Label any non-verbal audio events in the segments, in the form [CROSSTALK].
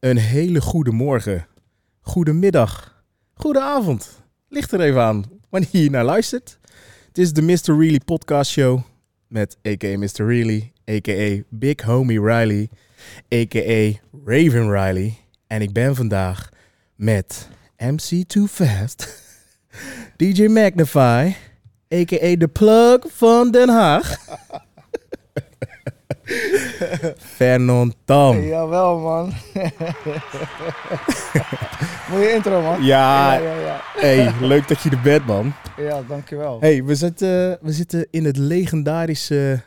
Een hele goede morgen, goedemiddag, goedenavond. Ligt er even aan wanneer je naar luistert. Het is de Mr. Really podcast show met a.k.a. Mr. Really, a.k.a. Big Homie Riley, a.k.a. Raven Riley. En ik ben vandaag met MC Too Fast, [LAUGHS] DJ Magnify, a.k.a. De Plug van Den [LAUGHS] Haag. Fernand Tam. Eh, Jawel, [LAUGHS] man. Mooie intro, man. Ja, ja, ja. hey, leuk dat je er bent, man. Ja, dankjewel. hey, we, zitten- we zitten in het legendarische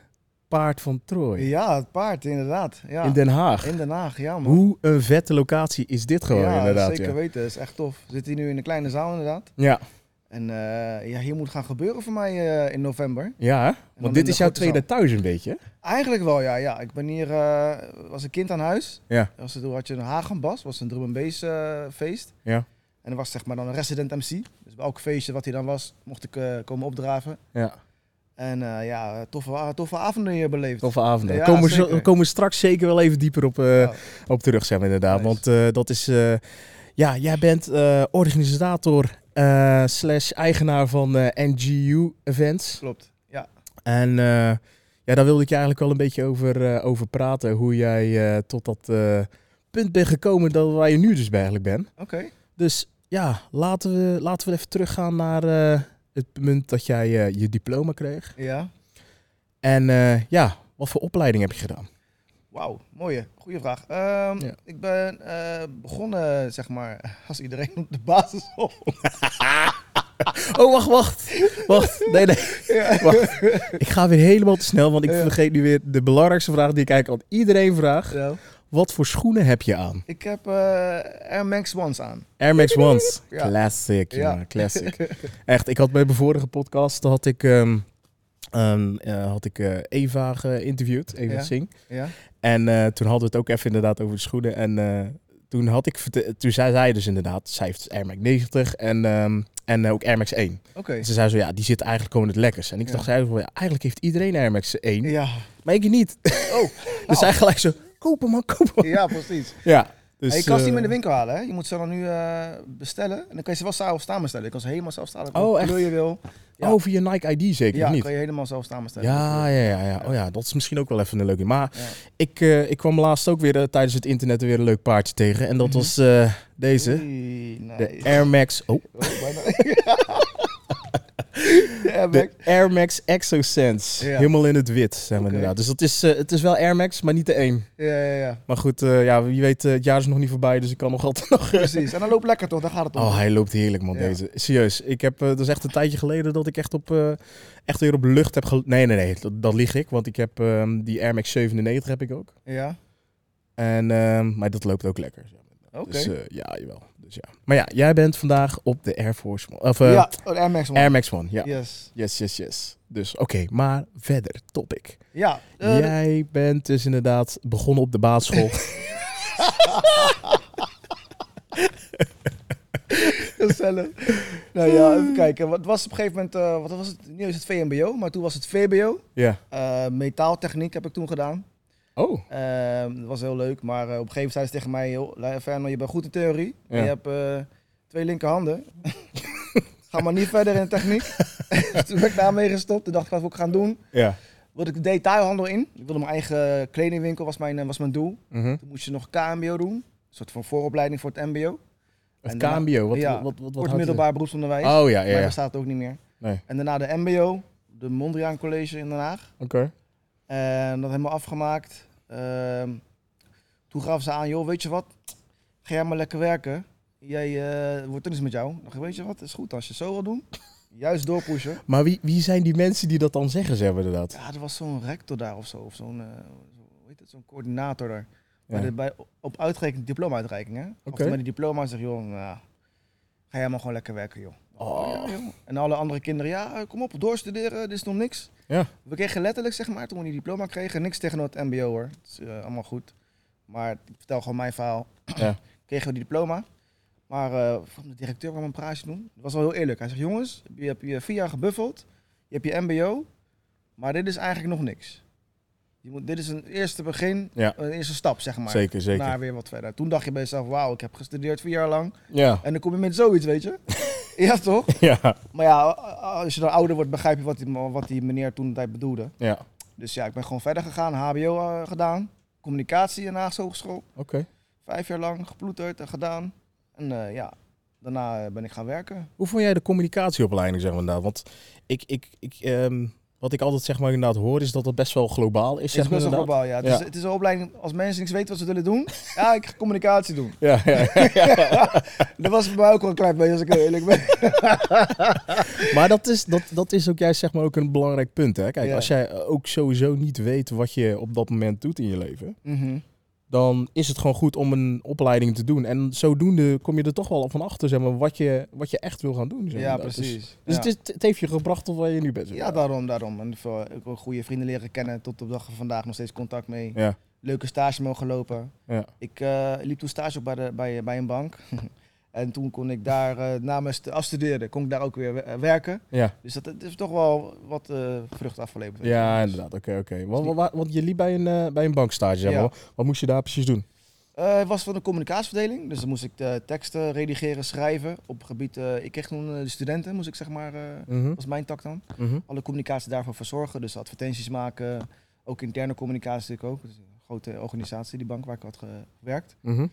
Paard van Trooi Ja, het paard, inderdaad. Ja. in Den Haag. In Den Haag, ja, man. Hoe een vette locatie is dit gewoon, ja, inderdaad. zeker ja. weten. Dat is echt tof. We zitten hier nu in een kleine zaal, inderdaad. Ja, En eh, ja, hier moet gaan gebeuren voor mij eh, in november. ja hè? dan want dit in is de jouw grote tweede thuis een beetje. hè? Eigenlijk wel, ja. ja. Ik ben hier, eh, was een kind aan huis. Ja. Was het, toen had je een Hagenbas, was een drum and bass eh, feest. Ja. En er was zeg maar dan een resident MC. Dus bij elk feestje wat hij dan was, mocht ik eh, komen opdraven. Ja, En eh, ja, toffe, toffe avonden hier beleefd. toffe avond. Ja, komen we zo- zeker. komen we straks zeker wel even dieper op, eh, Ja. op terug, zijn we inderdaad. Nice. Want eh, dat is... eh, ja, jij bent eh, organisator eh, slash eigenaar van eh, NGU Events. Klopt. Ja, En eh, ja, daar wilde ik je eigenlijk wel een beetje over, eh, over praten. Hoe jij eh, tot dat eh, punt bent gekomen dat waar je nu dus bij eigenlijk bent. oké. Dus ja, laten we, laten we even teruggaan naar eh, het moment dat jij eh, je diploma kreeg. Ja. En eh, ja, wat voor opleiding heb je gedaan? [LAUGHS] Wauw, mooie, goede vraag. Ehm, Ja. Ik ben eh, begonnen, zeg maar, [LAUGHS] als iedereen op de basisschool. [LAUGHS] Oh, wacht, wacht. Wacht, nee, nee. ja. Wacht. Ik ga weer helemaal te snel, want ik Ja. vergeet nu weer de belangrijkste vraag die ik eigenlijk aan iedereen vraag. Ja. Wat voor schoenen heb je aan? Ik heb eh Air Max Ones aan. Air Max Ones. Ja. Classic, ja. Ja. [LAUGHS] Classic. Echt, ik had bij mijn vorige podcast, had ik, ehm, ehm, eh, had ik eh, Eva geïnterviewd, Eva Ja. Singh. Ja. En eh, toen hadden we het ook even inderdaad over de schoenen. En eh, toen, had ik, verte- toen zei zij dus inderdaad, zij heeft Air Max 90 en, ehm, en eh, ook Air Max 1. Oké. En ze zei zo, ja, die zit eigenlijk gewoon het lekkers. En ik Ja. dacht, zei van, ja, eigenlijk heeft iedereen Air Max 1, Ja. maar ik niet. [LAUGHS] Oh, Dus zij gelijk zo, koop hem man, koop hem. [LAUGHS] ja, precies. Ja. [LAUGHS] Dus, En je kan ze niet eh, meer in de winkel halen, hè? Je moet ze dan nu eh, bestellen. En dan kan je ze wel zelf samenstellen. Je kan ze helemaal zelf samenstellen. Oh, Welke echt? kleur je wil. ja. Oh, via Nike ID zeker, Ja, of niet? kan je helemaal zelf samenstellen. Ja, ja, ja, ja. Oh ja, dat is misschien ook wel even een leuke. Maar Ja. ik, eh, ik kwam laatst ook weer eh, tijdens het internet weer een leuk paardje tegen. En dat was eh, deze. Oei, De nice. Air Max. Oh, Oh, bijna. [LAUGHS] de Air Max. de Air Max Exosense. Ja. Helemaal in het wit, zijn we Oké. inderdaad. Dus dat is, eh, het is wel Air Max, maar niet de één. Ja, ja, ja. Maar goed, eh, ja, wie weet, eh, het jaar is nog niet voorbij, dus ik kan nog altijd [LAUGHS] nog. eh, Precies. En dan loopt lekker toch? Daar gaat het om. Oh, hij loopt heerlijk, man, Ja. deze. Serieus, ik heb, eh, dat is echt een tijdje geleden dat ik echt, op, eh, echt weer op lucht heb gel- Nee, nee, nee, dat, dat lieg ik, want ik heb ehm, die Air Max 97 heb ik ook. Ja. En, ehm, maar dat loopt ook lekker. Oké. Dus eh, ja, jawel. Dus ja. Maar ja, jij bent vandaag op de Air Force One. Of eh, ja, een Air Max One. Air Max One, ja. Yes. Yes, yes, yes. Dus oké, maar verder, topic. Ja. eh, jij bent dus inderdaad begonnen op de basisschool. [LAUGHS] Gezellig. nou [LAUGHS] ja, even kijken. Wat was op een gegeven moment, eh, wat was het? Nu is het VMBO, maar toen was het VBO. ja. Eh, metaaltechniek heb ik toen gedaan. Oh, Eh, dat was heel leuk, maar eh, op een gegeven moment zei ze tegen mij, joh, Fernand, je bent goed in theorie. En Ja. je hebt eh, twee linkerhanden. [LAUGHS] Ga maar niet verder in de techniek. [LAUGHS] Dus toen ben ik daarmee gestopt. Toen dacht ik, wat wil ik gaan doen? ja. Wilde ik detailhandel in. Ik wilde mijn eigen kledingwinkel, was mijn, eh, was mijn doel. Mhm. Toen moest je nog KMBO doen. Een soort van vooropleiding voor het MBO. Het En daarna- KMBO, wat, ja, wat, wat, wat, Kort houdt het middelbaar beroepsonderwijs. in? Oh ja, ja, Maar ja. bestaat ook niet meer. Nee. En daarna de MBO, de Mondriaan College in Den Haag. Oké. En dat helemaal afgemaakt. Ehm, toen gaven ze aan, joh, weet je wat? Ga jij maar lekker werken. Jij eh, wordt tennis met jou. Dan dacht ik, weet je wat? Is goed als je het zo wil doen. Juist doorpushen. Maar wie, wie zijn die mensen die dat dan zeggen, zeg maar inderdaad? Ja, er was zo'n rector daar of zo. Of zo'n, eh, zo- hoe heet het, zo'n coördinator daar. Ja. Bij de, bij, op uitreiking, diploma-uitreiking, hè? Of Oké. met die diploma zeg joh, nou, ga jij maar gewoon lekker werken, joh. Oh. Ja, joh. En alle andere kinderen, ja, eh, kom op, doorstuderen, dit is nog niks. Ja. We kregen letterlijk, zeg maar, toen we die diploma kregen, niks tegen het mbo, hoor. Het is eh, allemaal goed. Maar ik vertel gewoon mijn verhaal. Ja. [CLEARS THROAT] kregen we die diploma. Maar eh, van de directeur kwam een praatje doen. Dat was wel heel eerlijk. Hij zegt, jongens, je hebt je vier jaar gebuffeld. Je hebt je mbo. Maar dit is eigenlijk nog niks. Je moet, dit is een eerste begin, Ja. een eerste stap, zeg maar. Zeker, zeker. Naar weer wat verder. Toen dacht je bij jezelf, wauw, ik heb gestudeerd vier jaar lang. Ja. En dan kom je met zoiets, [LAUGHS] weet je. ja, toch? Ja. Maar [LAUGHS] ja, als je dan ouder wordt, begrijp je wat die, wat die meneer toen de tijd bedoelde. Ja. Oké. Dus ja, ik ben gewoon verder gegaan, HBO eh, gedaan. Communicatie in de Haagse Hogeschool. Vijf jaar lang geploeterd en gedaan. En eh, ja, daarna eh, ben ik gaan werken. Hoe vond jij de communicatieopleiding, zeg maar inderdaad? Want ik, ik, ik, ehm, wat ik altijd zeg maar inderdaad hoor, is dat dat best wel globaal is. Het is Zeg maar, best wel inderdaad. globaal, ja. Het, Ja. Is, het is een opleiding, als mensen niks weten wat ze willen doen, [LAUGHS] ja, ik ga communicatie doen. Ja, ja, [LAUGHS] ja. Dat was bij mij ook wel een klein beetje, als ik heel [LAUGHS] eerlijk ben. Maar dat is, dat, dat is ook juist zeg maar ook een belangrijk punt. Hè? Kijk, Ja. als jij ook sowieso niet weet wat je op dat moment doet in je leven, Mhm. dan is het gewoon goed om een opleiding te doen. En zodoende kom je er toch wel van achter, zeg maar, wat je, wat je echt wil gaan doen. Zeg Ja, maar. Dus- Dus, precies. het, is- het heeft je gebracht tot waar je nu bent. zeg Ja, maar. daarom, daarom. En veel ook wel goede vrienden leren kennen. Tot op de dag van vandaag nog steeds contact mee. Ja. Leuke stage mogen lopen. Ja. Ik eh, liep toen stage op bij, de, bij, bij een bank. [LAUGHS] en toen kon ik daar, eh na mijn stu- afstuderen, kon ik daar ook weer we- eh, werken. Ja. Dus dat, dat is toch wel wat eh, vrucht afgeleverd. weet je. Ja, Dus, inderdaad. Oké, oké. Want, want- want je liep bij een, eh, bij een bankstage, zeg maar. Ja. Wat moest je daar precies doen? eh, het was van de communicatieverdeling. Dus dan moest ik de teksten redigeren, schrijven. Op gebied, eh, ik kreeg toen eh, de studenten, moest ik zeg maar, eh, Mhm, was mijn tak dan. mhm. alle communicatie daarvoor verzorgen. Dus advertenties maken, ook interne communicatie natuurlijk ook. Het is een grote organisatie, die bank waar ik had gewerkt. Mhm.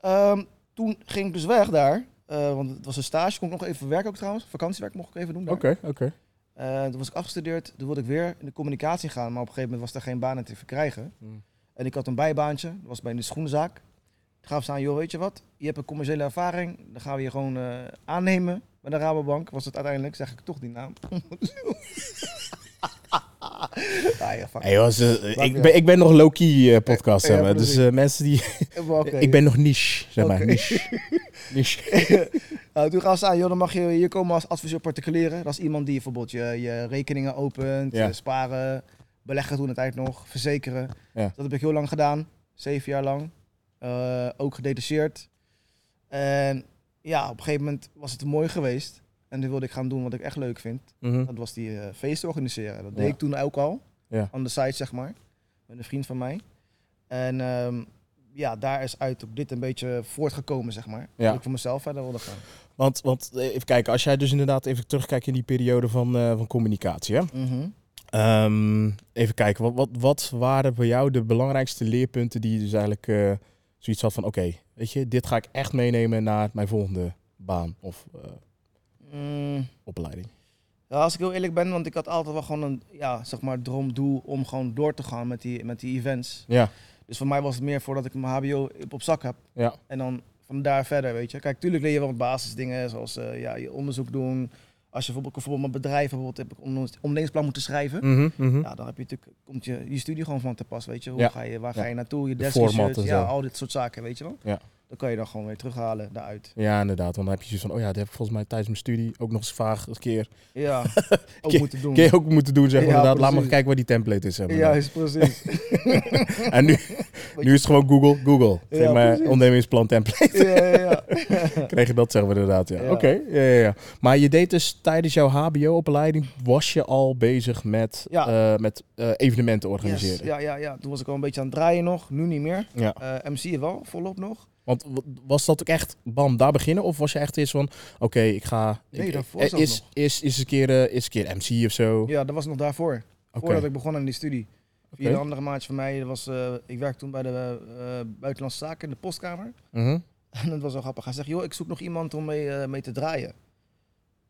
Ehm, toen ging ik dus weg daar, eh, want het was een stage. Kon ik nog even werken ook trouwens, vakantiewerk mocht ik even doen daar. Oké, oké. Eh, toen was ik afgestudeerd, toen wilde ik weer in de communicatie gaan. Maar op een gegeven moment was er geen baan in te verkrijgen. Hmm. En ik had een bijbaantje, dat was bij de schoenenzaak. Toen gaf ze aan, joh weet je wat, je hebt een commerciële ervaring. Dan gaan we je gewoon eh, aannemen bij de Rabobank. Was het uiteindelijk, zeg ik toch die naam. [LAUGHS] ah, ja, fuck. Hey, was, eh, Dank je. ik, ben, ik ben nog low-key eh, podcast, Ja, zeg maar. Dus precies. eh, mensen die... Oké. Ik ben nog niche, zeg maar. Oké. Niche. [LAUGHS] niche. Nou, toen gaf ze aan, joh dan mag je hier komen als adviseur particulieren. Dat is iemand die bijvoorbeeld je, je rekeningen opent, Ja. eh, sparen, beleggen doen uiteindelijk nog, verzekeren. Ja. Dat heb ik heel lang gedaan, zeven jaar lang. Eh, ook gedetacheerd. En ja, op een gegeven moment was het mooi geweest. En dat wilde ik gaan doen wat ik echt leuk vind. Mhm. Dat was die eh feesten organiseren. Dat deed Ja. ik toen ook al. Ja. On the side, zeg maar. Met een vriend van mij. En ehm, ja, daar is uit op dit een beetje voortgekomen, zeg maar. Ja. Dat ik voor mezelf verder wilde gaan. Want, want eh, even kijken, als jij dus inderdaad even terugkijkt in die periode van, eh, van communicatie. Hè? Mhm. Ehm, even kijken, wat, wat, wat waren voor jou de belangrijkste leerpunten die je dus eigenlijk eh, zoiets had van... Oké, weet je, dit ga ik echt meenemen naar mijn volgende baan of eh, Mm, opleiding. ja, als ik heel eerlijk ben, want ik had altijd wel gewoon een ja, zeg maar, droomdoel om gewoon door te gaan met die, met die events. Ja, Dus voor mij was het meer voordat ik mijn HBO op- op zak heb. ja. En dan van daar verder, weet je. Kijk, tuurlijk leer je wel wat basisdingen, zoals eh, ja, je onderzoek doen. Als je bijvoorbeeld, bijvoorbeeld met bedrijven bijvoorbeeld, heb ik een onderne- ondernemingsplan moeten schrijven. Mhm, mhm. Ja, dan heb je natuurlijk, komt je, je studie gewoon van te pas, weet je. Hoe Ja. ga je, waar Ja. ga je naartoe, je De desk format research, en ja, zo. al dit soort zaken, weet je wel. Ja. Dan kan je dan gewoon weer terughalen daaruit. Ja, inderdaad. Want dan heb je zoiets van, oh ja, dat heb ik volgens mij tijdens mijn studie ook nog eens vaag een keer, [LAUGHS] Ja, ook Keer- moeten doen. keer ook moeten doen. Zeg maar, Ja, inderdaad, laat maar precies. kijken waar die template is. Zeg maar. Juist, precies. En [LAUGHS] nu, nu is het gewoon Google, Google. Ja, Zeg maar, precies. ondernemingsplan template. ja, ja, [LAUGHS] ja. Krijg je dat, zeg maar inderdaad. Ja. Ja. Oké, ja, ja, ja. Maar je deed dus tijdens jouw HBO-opleiding, was je al bezig met, Ja. eh, met eh, evenementen Yes, organiseren. ja, ja, ja. Toen was ik al een beetje aan het draaien nog, nu niet meer. Ja. Eh, MC wel, volop nog. Want w- was dat ook echt, bam, daar beginnen? Of was je echt eerst van, oké, ik ga... Nee, ik- daarvoor eh, zelfs is, nog. is, is, een keer, eh, is een keer MC of zo? Ja, dat was nog daarvoor. Oh. Oké. Voordat ik begon aan die studie. Via Oké. de andere maatje van mij, dat was, eh, ik werkte toen bij de eh, Buitenlandse Zaken in de postkamer. [LAUGHS] Mhm. En dat was wel grappig. Hij zegt, joh, ik zoek nog iemand om mee, eh, mee te draaien.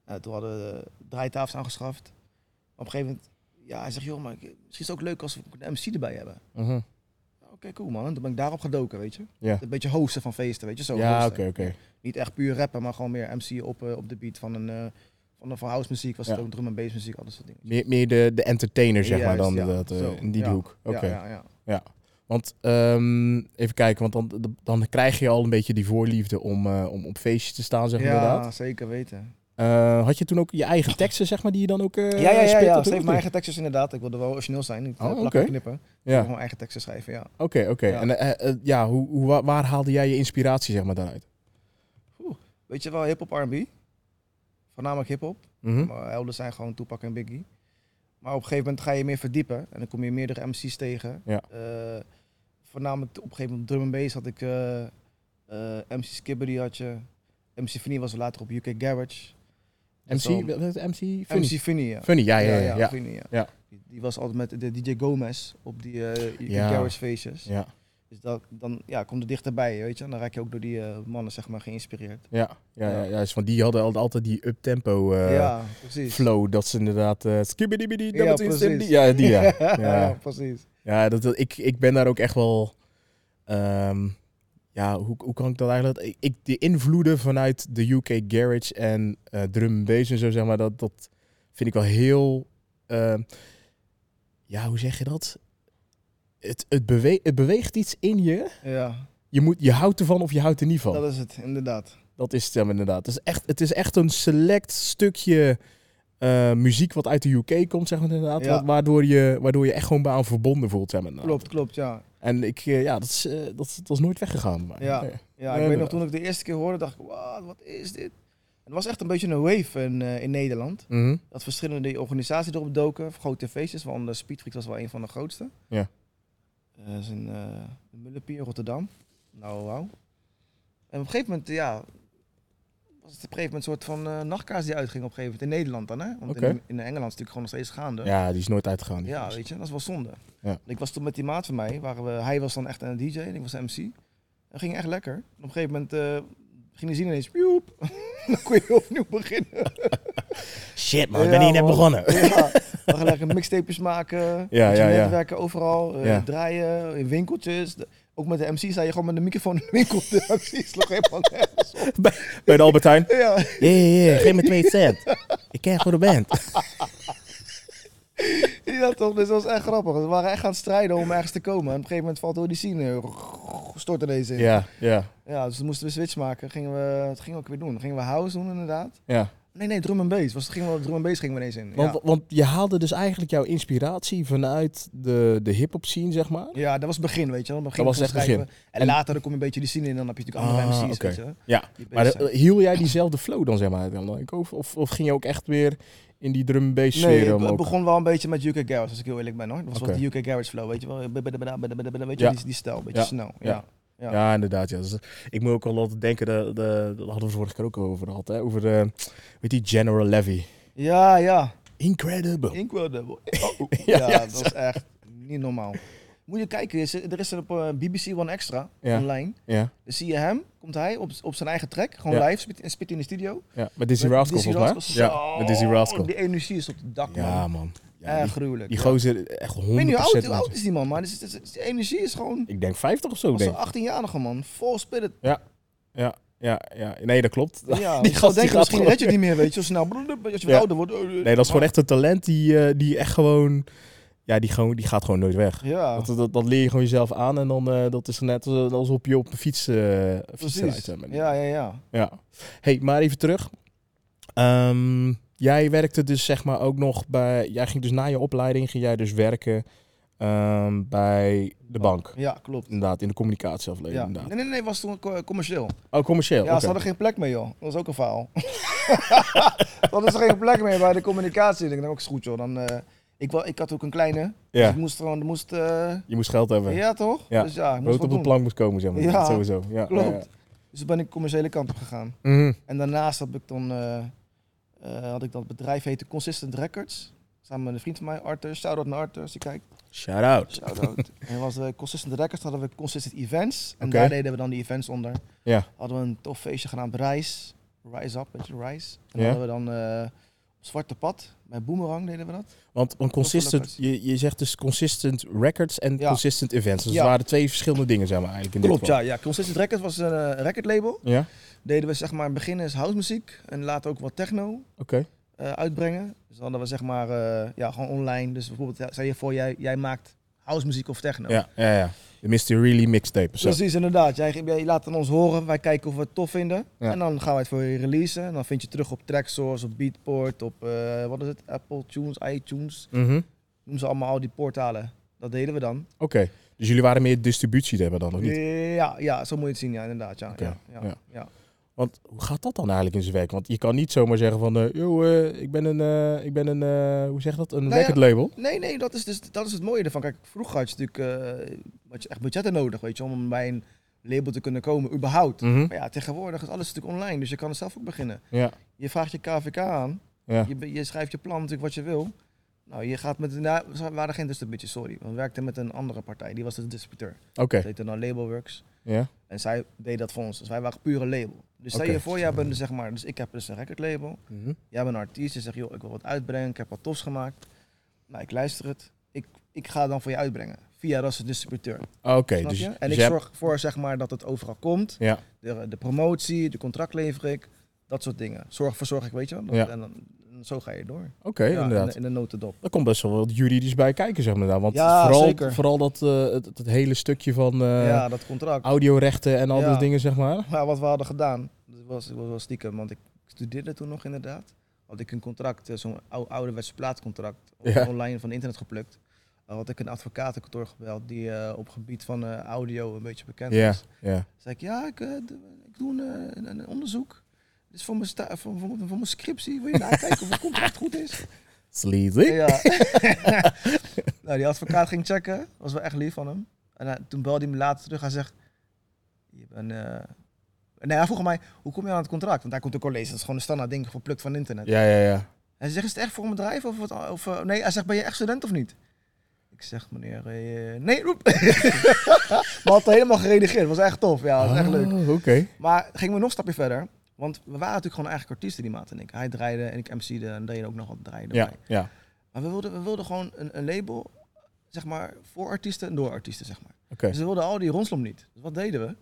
Eh, toen hadden we draaitafels aangeschaft. Op een gegeven moment, ja, hij zegt, joh, maar ik- misschien is het ook leuk als we een MC erbij hebben. mhm. Oké, cool man. En toen ben ik daarop gedoken, weet je. Ja. Een beetje hosten van feesten, weet je. Zo Ja, hosten. oké, oké. Niet echt puur rappen, maar gewoon meer MC op, eh, op de beat van een... eh, van de van house muziek was het Ja. ook drum en bass muziek, al dat soort dingen. Meer, meer de, de entertainer, zeg maar, Juist, dan ja. dat, eh, Zo, in die ja. hoek. Oké. Ja, ja, ja. Want ehm, even kijken, want dan, dan krijg je al een beetje die voorliefde om, eh, om op feestjes te staan, zeg maar inderdaad. ja zeker weten. Eh, had je toen ook je eigen teksten, zeg maar, die je dan ook eh ja, ja, ja. spitte ja. toen, of Schreef mijn niet? eigen tekstjes inderdaad. Ik wilde wel origineel zijn. Niet Oh, oh, oké. knippen. Ik wilde Ja, Gewoon eigen teksten schrijven, ja. oké, oké. Ja. En eh, eh, ja, hoe, hoe, waar, waar haalde jij je inspiratie, zeg maar, daaruit? Weet je wel, hip-hop, R&B. Voornamelijk hip-hop. Mhm. Maar helden zijn gewoon Tupac en Biggie. Maar op een gegeven moment ga je meer verdiepen en dan kom je meerdere MC's tegen. Ja. Eh, voornamelijk op een gegeven moment op drum and bass had ik eh, eh, MC Skibbery had je. MC Vinnie was later op UK Garage. MC, Zo. wat is het? MC Funny. MC Vinnie, ja. Funny, ja, ja, ja. ja, Vinnie, ja. Ja. Die, die was altijd met de DJ Gomez op die eh, UK Ja. Garage feestjes. ja. Dus dat, dan ja, komt er dichterbij, weet je. En dan raak je ook door die eh, mannen zeg maar geïnspireerd. Ja, ja, ja, juist. Want die hadden al- altijd die uptempo eh ja, precies. flow. Dat ze inderdaad... eh skibbidi Ja, precies. Ja, die ja. [LAUGHS] ja, precies. Ja, dat, dat- ik, ik ben daar ook echt wel... ehm, ja, hoe, hoe kan ik dat eigenlijk... Ik, ik- de invloeden vanuit de UK Garage en eh, drum and bass en zo, zeg maar... Dat, dat vind ik wel heel... ehm, ja, hoe zeg je dat? Het, het, bewe het beweegt iets in je. Ja, Je, moet, je houdt ervan of je houdt er niet van. dat is het, inderdaad. Dat is het hem inderdaad. Het is echt, het is echt een select stukje eh, muziek wat uit de UK komt, zeg maar inderdaad. Ja. wat- Waardoor, je, waardoor je echt gewoon bij aan verbonden voelt, zeg maar inderdaad. Klopt, klopt, ja. En ik, eh, ja, dat is, eh, dat, is- dat is nooit weggegaan. Maar, Ja. nee. Ja, Nee, ik weet nog inderdaad. toen ik de eerste keer hoorde, dacht ik, "Wow, wat is dit? Het was echt een beetje een wave in, eh, in Nederland. Mhm. Dat verschillende organisaties erop doken, grote feestjes, waaronder Speedfreaks was wel een van de grootste. Ja. Eh, Dat is in eh Mullepie in Rotterdam. Nou, wauw. En op een gegeven moment, ja, was het op een gegeven moment een soort van eh, nachtkaars die uitging op een gegeven moment in Nederland dan, hè? Want Oké. in, in Engeland is het natuurlijk gewoon nog steeds gaande. ja, die is nooit uitgegaan. die Ja, gast. weet je, dat is wel zonde. Ja. Ik was toen met die maat van mij, waren we, hij was dan echt een DJ en ik was MC. En ging echt lekker. En op een gegeven moment eh, ging hij zien ineens, [LAUGHS] pioep, dan kon je opnieuw beginnen. Shit man, Ja, ik ben hier net man. [LAUGHS] begonnen. ja, we gaan lekker mixtapes maken, Ja, met je ja, ja. netwerken overal, eh, Ja. draaien, in winkeltjes. De- ook met de MC sta je gewoon met de microfoon in de winkel. [LAUGHS] De MC sloeg helemaal nergens op. bij, bij de Albert Heijn. Ja, Yeah, yeah, yeah, geef me twee cent. ik ken voor de band. ja, toch, dus dat was echt grappig. We waren echt aan het strijden om ergens te komen. En op een gegeven moment valt door die scene, eh, stort ineens in. Ja, ja, [LAUGHS] Ja, dus toen moesten we switch maken. Gingen we, wat gingen we ook weer doen? Gingen we house doen inderdaad? ja. Nee, nee, drum en bass. Was, gingen we, drum en bass gingen we ineens in. Want, ja. want je haalde dus eigenlijk jouw inspiratie vanuit de, de hip-hop scene, zeg maar. ja, dat was het begin, weet je wel. Begin Dat was van echt het schrijven. En, En- later dan kom je een beetje die scene in en dan heb je natuurlijk andere Ah, MC's, oké. weet je wel. Ja, Die maar bezig de- zijn. hiel jij diezelfde flow dan, zeg maar? Dan ook, of, of, of ging je ook echt weer in die drum bass sfeer Nee, om het ook- begon wel een beetje met UK Garage, als ik heel eerlijk ben hoor. Dat was Oké. wel die UK Garage flow, weet je wel. Weet je, Ja. wel, die, die stijl, een beetje Ja. snel. Ja. Ja. ja. ja. inderdaad. Ja. Dus, ik moet ook wel altijd denken, de, de, daar hadden we vorige keer ook over gehad, hè? over de, weet die General Levy. Ja, ja. Incredible. Inkwell double. [LAUGHS] Oh, Ja, ja, ja, dat is echt niet normaal. Moet je kijken, er is- er is er op eh, BBC One Extra Ja. online. ja, Dan zie je hem, komt hij op, op zijn eigen track, gewoon Ja. live, spit, spit in de studio. ja, met Dizzy Met Rascal Dizzy volgens mij. Rascal. Ja, met Dizzy Zo, Rascal. Die energie is op het dak, man. Ja man. Ja, Erg die, gruwelijk. die ja. gozer, echt 100%. Ik weet niet hoe oud, hoe laten- oud is die man, maar dus, dus- dus die energie is gewoon... Ik denk 50 of zo, Als een denk ik. 18-jarige man, vol spirit. Ja, ja, ja. Nee, dat klopt. [LAUGHS] Ja, die die gast gast die denken, gaat misschien gewoon... red je het niet meer, weet je, zo snel. Als Ja. je wat ouder wordt... oh, eh, Nee, dat is gewoon echt een talent die, eh, die echt gewoon... Ja, die, gewoon, die gaat gewoon nooit weg. Ja, Dat, dat, dat leer je gewoon jezelf aan en dan eh, dat is net als- alsof je op de fiets, eh fiets rijdt. precies. zeg maar. Ja, ja, ja. Ja. Hey, maar even terug. Ehm, jij werkte dus zeg maar ook nog bij. Jij ging dus na je opleiding ging jij dus werken ehm, bij de bank. Ja, klopt. Inderdaad, in de communicatieafdeling. Ja. inderdaad. Nee, nee, nee, was toen co- commercieel. Oh, commercieel. Ja, oké. ze hadden geen plek meer, joh. Dat was ook een verhaal. [LAUGHS] Dan is er geen plek meer bij de communicatie. Ik denk, nou, ook is goed, joh. Dan, eh, ik, wa- ik had ook een kleine. Dus ja. ik moest gewoon, moest, eh, Je moest geld hebben. ja toch? Ja. Dus ja, ik moest Brood wat op de doen. plank moest komen, zeg maar. Ja, Sowieso. Ja, Klopt. ja, ja. Dus toen ben ik de commerciële kant op gegaan. Mhm. En daarnaast heb ik dan, eh, eh, had ik dat bedrijf heette Consistent Records. Samen met een vriend van mij, Arthur. Shout-out naar Arthur, als je kijkt. Shout out. Shout-out. [LAUGHS] en dat was de Consistent Records, hadden we Consistent Events. En Oké. daar deden we dan die events onder. Ja. Hadden we een tof feestje genaamd Rise. Rise Up, weet je, Rise. En Ja. hadden we dan eh, op Zwarte Pad, bij Boomerang deden we dat. Want een consistent, Records. je, je zegt dus consistent records en Ja. consistent events. Dus Ja. het waren twee verschillende dingen, zeg maar, eigenlijk in dit geval. ja, ja. Consistent Records was een eh, recordlabel. Ja, Deden we zeg maar beginners housemuziek en later ook wat techno oké. eh, uitbrengen. Dus dan hadden we zeg maar, eh, ja, gewoon online. Dus bijvoorbeeld, ja, stel je voor, jij, jij maakt housemuziek of techno. Ja, ja, ja. De Mr. Really mixtape. Zo. Precies, inderdaad. Jij, jij laat het aan ons horen, wij kijken of we het tof vinden. Ja. En dan gaan wij het voor je releasen. En dan vind je het terug op Tracksource, op Beatport, op eh, wat is het? Apple Tunes, iTunes. Mhm. Noem ze allemaal al die portalen. Dat deden we dan. Oké. Dus jullie waren meer distributie te hebben dan, of niet? Ja, ja, zo moet je het zien, ja, inderdaad. Ja, Oké, ja, ja, ja. ja. Oké, Want hoe gaat dat dan eigenlijk in zijn werk? Want je kan niet zomaar zeggen van, eh yo, eh, ik ben een, eh, ik ben een eh, hoe zeg je dat, een Nou ja. record label. Nee, nee, dat is, dus, dat is het mooie ervan. Kijk, vroeger had je natuurlijk eh, had je echt budgetten nodig, weet je, om bij een label te kunnen komen, überhaupt. Mhm. Maar ja, tegenwoordig is alles natuurlijk online, dus je kan het zelf ook beginnen. Ja, Je vraagt je KVK aan, ja. je, be- je schrijft je plan natuurlijk wat je wil. Nou, je gaat met, nou, we waren geen distributie, sorry. We werkten met een andere partij, die was de distributeur. Oké, Dat heette dan Labelworks. ja. En zij deed dat voor ons, dus wij waren pure label. Dus stel Oké. je voor, jij bent, zeg maar, dus ik heb dus een recordlabel. Mhm. Jij bent een artiest, je zegt, joh, ik wil wat uitbrengen, ik heb wat tofs gemaakt. Nou, ik luister het. Ik, ik ga het dan voor je uitbrengen. Via dat is een distributeur. Oké, snap dus, je? dus En je ik hebt- zorg voor zeg maar, dat het overal komt. Ja. De, de promotie, de contract lever ik. Dat soort dingen. Zorg voor zorg ik, weet je wel. Dat- Ja. En dan, en zo ga je door. Oké, Ja, inderdaad. In, de, in de notendop. Daar komt best wel wat juridisch bij kijken, zeg maar. daar. Want Ja, vooral, zeker. vooral dat, eh, het, het hele stukje van eh, ja, dat contract. audiorechten en al Ja. dat dingen, zeg maar. Maar wat we hadden gedaan, dat was, dat was wel stiekem, want ik studeerde toen nog inderdaad. Had ik een contract, eh, zo'n ou- ouderwets plaatcontract, on- Ja. online van het internet geplukt. Eh, had ik een advocatenkantoor gebeld die eh, op gebied van eh, audio een beetje bekend Ja, was. ja. Zei ik, ja, ik, eh, d- ik doe een, eh, een, een onderzoek. Dit is voor mijn, sta- voor, voor, voor mijn [LAUGHS] scriptie. Wil je nakijken of het contract goed is? Sleazy. Ja. [LAUGHS] nou, die advocaat ging checken. Was wel echt lief van hem. En hij- toen belde hij me later terug. Hij zegt... Je bent, eh, Nee, hij vroeg mij, hoe kom je aan het contract? Want hij komt ook college. Dat is gewoon een standaard ding, geplukt van internet. Ja, ja, ja. Hij zegt, is het echt voor een bedrijf? Of wat, of, eh, nee, hij zegt, ben je echt student of niet? Ik zeg, meneer, eh, nee, roep. [LAUGHS] maar had helemaal gereageerd. was echt tof. Ja, was echt leuk. Oh, Oké. Maar gingen we nog een stapje verder. Want we waren natuurlijk gewoon eigen artiesten, die maat en ik. Hij draaide en ik MC'de en deed ook nog wat draaien. Ja, ja. Maar we wilden, we wilden gewoon een, een label, zeg maar, voor artiesten en door artiesten, zeg maar. Oké. Dus we wilden al die rondslom niet. Dus wat deden we?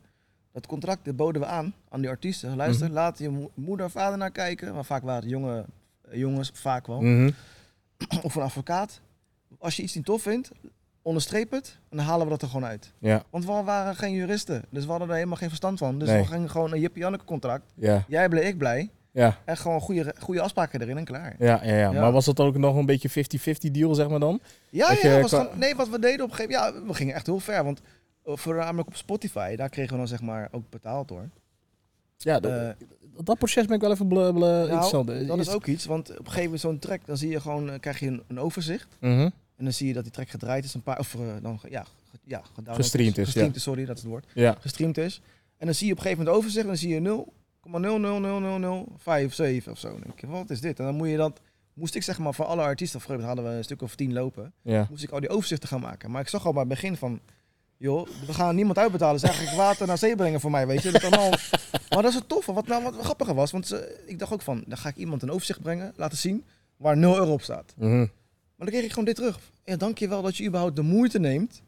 Dat contract dat boden we aan, aan die artiesten. Luister, Mhm. laat je mo- moeder of vader naar kijken. Maar vaak waren het jonge, eh, jongens, vaak wel. Mhm. Of een advocaat. Als je iets niet tof vindt, onderstreep het en dan halen we dat er gewoon uit. Ja, Want we waren geen juristen, dus we hadden er helemaal geen verstand van. Dus Nee. we gingen gewoon een Jip-Janneke contract. ja, Jij blij, ik blij. ja. En gewoon goede, goede afspraken erin en klaar. Ja, ja, ja. Ja. Maar was dat ook nog een beetje 50-50 deal, zeg maar dan? Ja, Dat ja, je was qua- gewoon- nee, wat we deden op een gegeven moment, ja, we gingen echt heel ver. Want eh, voornamelijk op Spotify, daar kregen we dan zeg maar ook betaald hoor. Ja, dat, Eh, nou, dat proces ben ik wel even ble, ble, interessant. dat is ook iets, want op een gegeven moment zo'n track, dan zie je gewoon, eh, krijg je een, een overzicht. Mhm. En dan zie je dat die track gedraaid is, een paar, of eh, dan, ge- ja, ge- ja, gedownload Gestreamd is, Gestreamd ja. is, sorry, dat is het woord. Ja, Gestreamd is. En dan zie je op een gegeven moment overzicht en dan zie je 0,0000057 of zo. Dan denk je, wat is dit? En dan moet je dat, moest ik zeg maar voor alle artiesten, op een gegeven moment hadden we een stuk of tien lopen. ja. moest ik al die overzichten gaan maken. Maar ik zag al bij het begin van, joh, we gaan niemand uitbetalen. is eigenlijk water naar zee brengen voor mij, weet je. Dat kan [LAUGHS] al... Maar dat is het toffe, wat nou wat grappiger was. Want ze- ik dacht ook van, dan ga ik iemand een overzicht brengen, laten zien, waar 0 euro op staat. Mhm. Maar dan kreeg ik gewoon dit terug. Ja, dankjewel dat je überhaupt de moeite neemt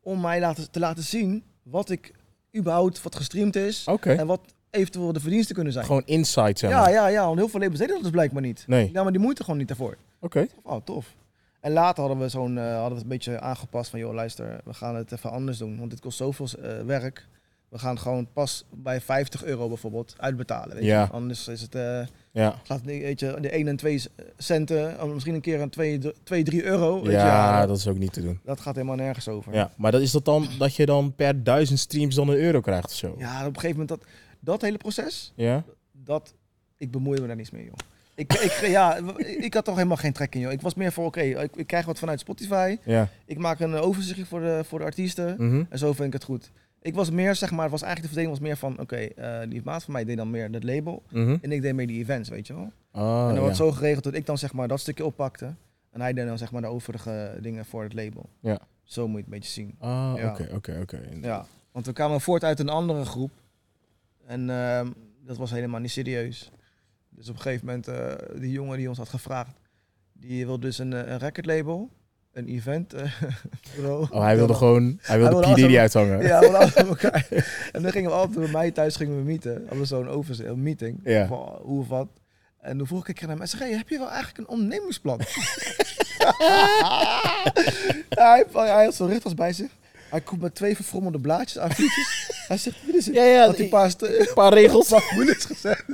om mij laten, te laten zien wat ik überhaupt, wat gestreamd is. Oké. En wat eventueel de verdiensten kunnen zijn. Gewoon insight, zeg maar. ja, ja, ja, want heel veel labels deden dat dus blijkbaar niet. Nee. Die namen die moeite gewoon niet daarvoor. Oké. Oh, tof. En later hadden we, zo'n, eh, hadden we het een beetje aangepast van, joh, luister, we gaan het even anders doen. Want dit kost zoveel eh, werk. We gaan gewoon pas bij 50 euro bijvoorbeeld uitbetalen. Weet je? Ja. Anders is het, eh Ja. gaat niet, weet je, de 1 en 2 centen, of misschien een keer een 2, 2 3 euro. Weet je? Ja, dat... dat is ook niet te doen. dat gaat helemaal nergens over. Ja, maar dat is dat dan dat je dan per duizend streams dan een euro krijgt of zo? Ja. Ja, op een gegeven moment, dat, dat hele proces, dat, ik bemoei me daar niets mee, joh. Ik, ik, [LAUGHS] ja, ik had toch helemaal geen trek in, joh. Ik was meer voor, oké, ik, ik krijg wat vanuit Spotify. Ja. Ik maak een overzichtje voor de, voor de artiesten. Mhm. En zo vind ik het goed. Ik was meer, zeg maar, het was eigenlijk de verdeling was meer van, oké, eh, die maat van mij deed dan meer het label. Mhm. En ik deed meer die events, weet je wel. Ah, en dan ja. wordt het zo geregeld dat ik dan, zeg maar, dat stukje oppakte. En hij deed dan, zeg maar, de overige dingen voor het label. Ja. Zo moet je het een beetje zien. Ah, Ja. oké, oké, oké. Ja. Want we kwamen voort uit een andere groep. En ehm, dat was helemaal niet serieus. Dus op een gegeven moment, eh, die jongen die ons had gevraagd, die wilde dus een, eh, een recordlabel, een event. eh, [LAUGHS] bureau. Oh, hij wilde gewoon, hij wilde, wilde P. Diddy altijd- uithangen. Ja. [LAUGHS] Ja, we hadden elkaar. En dan gingen we altijd bij mij thuis gingen we meeten. Hadden we zo'n overzicht, een meeting. Ja. Van oh, hoe of wat. En toen vroeg ik aan hem, hij zei, hey, heb je wel eigenlijk een ondernemingsplan? [LAUGHS] Ja, hij, hij had zo'n richtels bij zich. Hij komt met twee verfrommelde blaadjes aan fietsjes. Hij zegt, dit is het. [LAUGHS] Ja, ja, had hij een paar, st- Een paar regels. paar [LAUGHS] minutes gezet.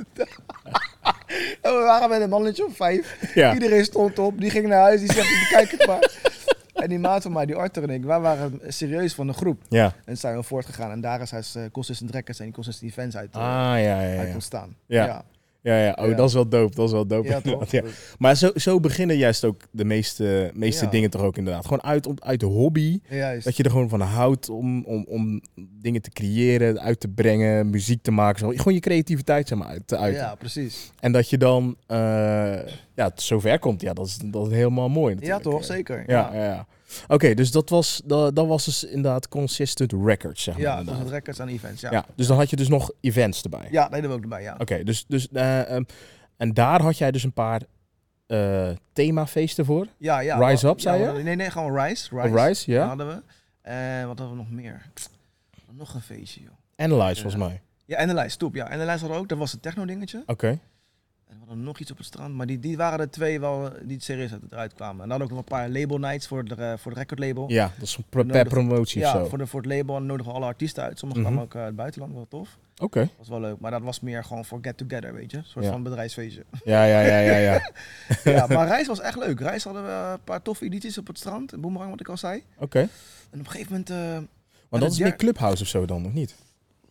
[LAUGHS] en we waren met een mannetje of vijf. Ja. Iedereen stond op, die ging naar huis, die zegt, bekijk het maar. [LAUGHS] En die maat van mij, die Arthur en ik, wij waren serieus van de groep. Ja. En zijn we voortgegaan. En daar is hij eh, consistent rekkers en consistent events uit, eh, Ah, ja, ja, ja. uit ja. ontstaan. Ja. ja. Ja, ja. Oh, Ja. dat is wel dope. Dat is wel dope. Ja, toch? inderdaad, [LAUGHS] ja. Maar zo, zo beginnen juist ook de meeste, meeste Ja. dingen toch ook inderdaad. Gewoon uit, om- uit de hobby. Ja, juist. Dat je er gewoon van houdt om, om, om dingen te creëren, uit te brengen, muziek te maken. Zo. Gewoon je creativiteit zeg maar, uit te uiten. Ja, precies. En dat je dan eh ja, het zover komt. Ja, dat is, dat is helemaal mooi Ja, natuurlijk. eh. toch? Zeker. Ja, ja, ja. Oké, dus dat was, dat, dat was dus inderdaad Consistent Records, zeg maar. Ja, inderdaad. consistent records en events. Ja, ja. dus dan had je dus nog events erbij. ja nee, dat we ook erbij. Ja. Oké, dus, dus eh, ehm, en daar had jij dus een paar eh, themafeesten voor. Ja, ja. Rise wa- Up, zei ja, je? Oh, we hadden- Nee, nee, gewoon Rise. Rise, Rise, ja. die hadden we. En wat hadden we nog meer? Nog een feestje, joh. Analyze, volgens mij. Ja, en de lijst, stoep. Ja, en de lijst hadden we ook. Dat was een techno-dingetje. Oké. En we hadden nog iets op het strand. Maar die, die waren de twee wel, eh, die het serieus uit- eruit kwamen. En dan hadden we ook nog een paar label nights voor, de, eh, voor het recordlabel. Ja, dat is per, per Nodig- promotie of zo. Nou, voor, de, voor het label. En nodigen we alle artiesten uit. Sommigen Mhm. kwamen ook eh, uit het buitenland, wel tof. Oké. Dat was wel leuk. Maar dat was meer gewoon voor get-together, weet je. Een soort Ja. van [LAUGHS] bedrijfsfeestje. [LAUGHS] Ja, ja, ja, ja, ja. ja, maar Reis was echt leuk. Reis hadden we eh, een paar toffe edities op het strand. Boemerang, wat ik al zei. [LAUGHS] Oké. En op een gegeven moment... eh, Maar dat dat is jaar- meer Clubhouse of zo dan, of niet?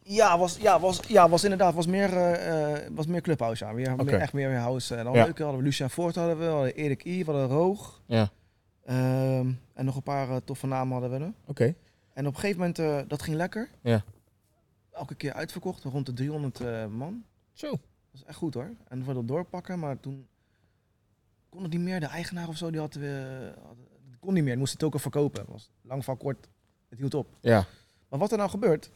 Ja, was, ja, was, ja, was inderdaad, was meer, eh, eh, was meer clubhouse, ja. Meer, meer- echt meer house. En dan Ja. leuk, hadden we Lucien Voort, hadden we, we hadden Erik I, we hadden Roog. Ja. Ehm, en nog een paar eh, toffe namen hadden we. er. Oké. En op een gegeven moment, eh, dat ging lekker. Ja. Elke keer uitverkocht, rond de 300 eh, man. Zo. Dat is echt goed hoor. En we wilden doorpakken, maar toen kon het niet meer. De eigenaar of zo, die had, we had- het kon niet meer. Die moest het ook al verkopen. Het was lang van kort, het hield op. Ja. Maar wat er nou gebeurt,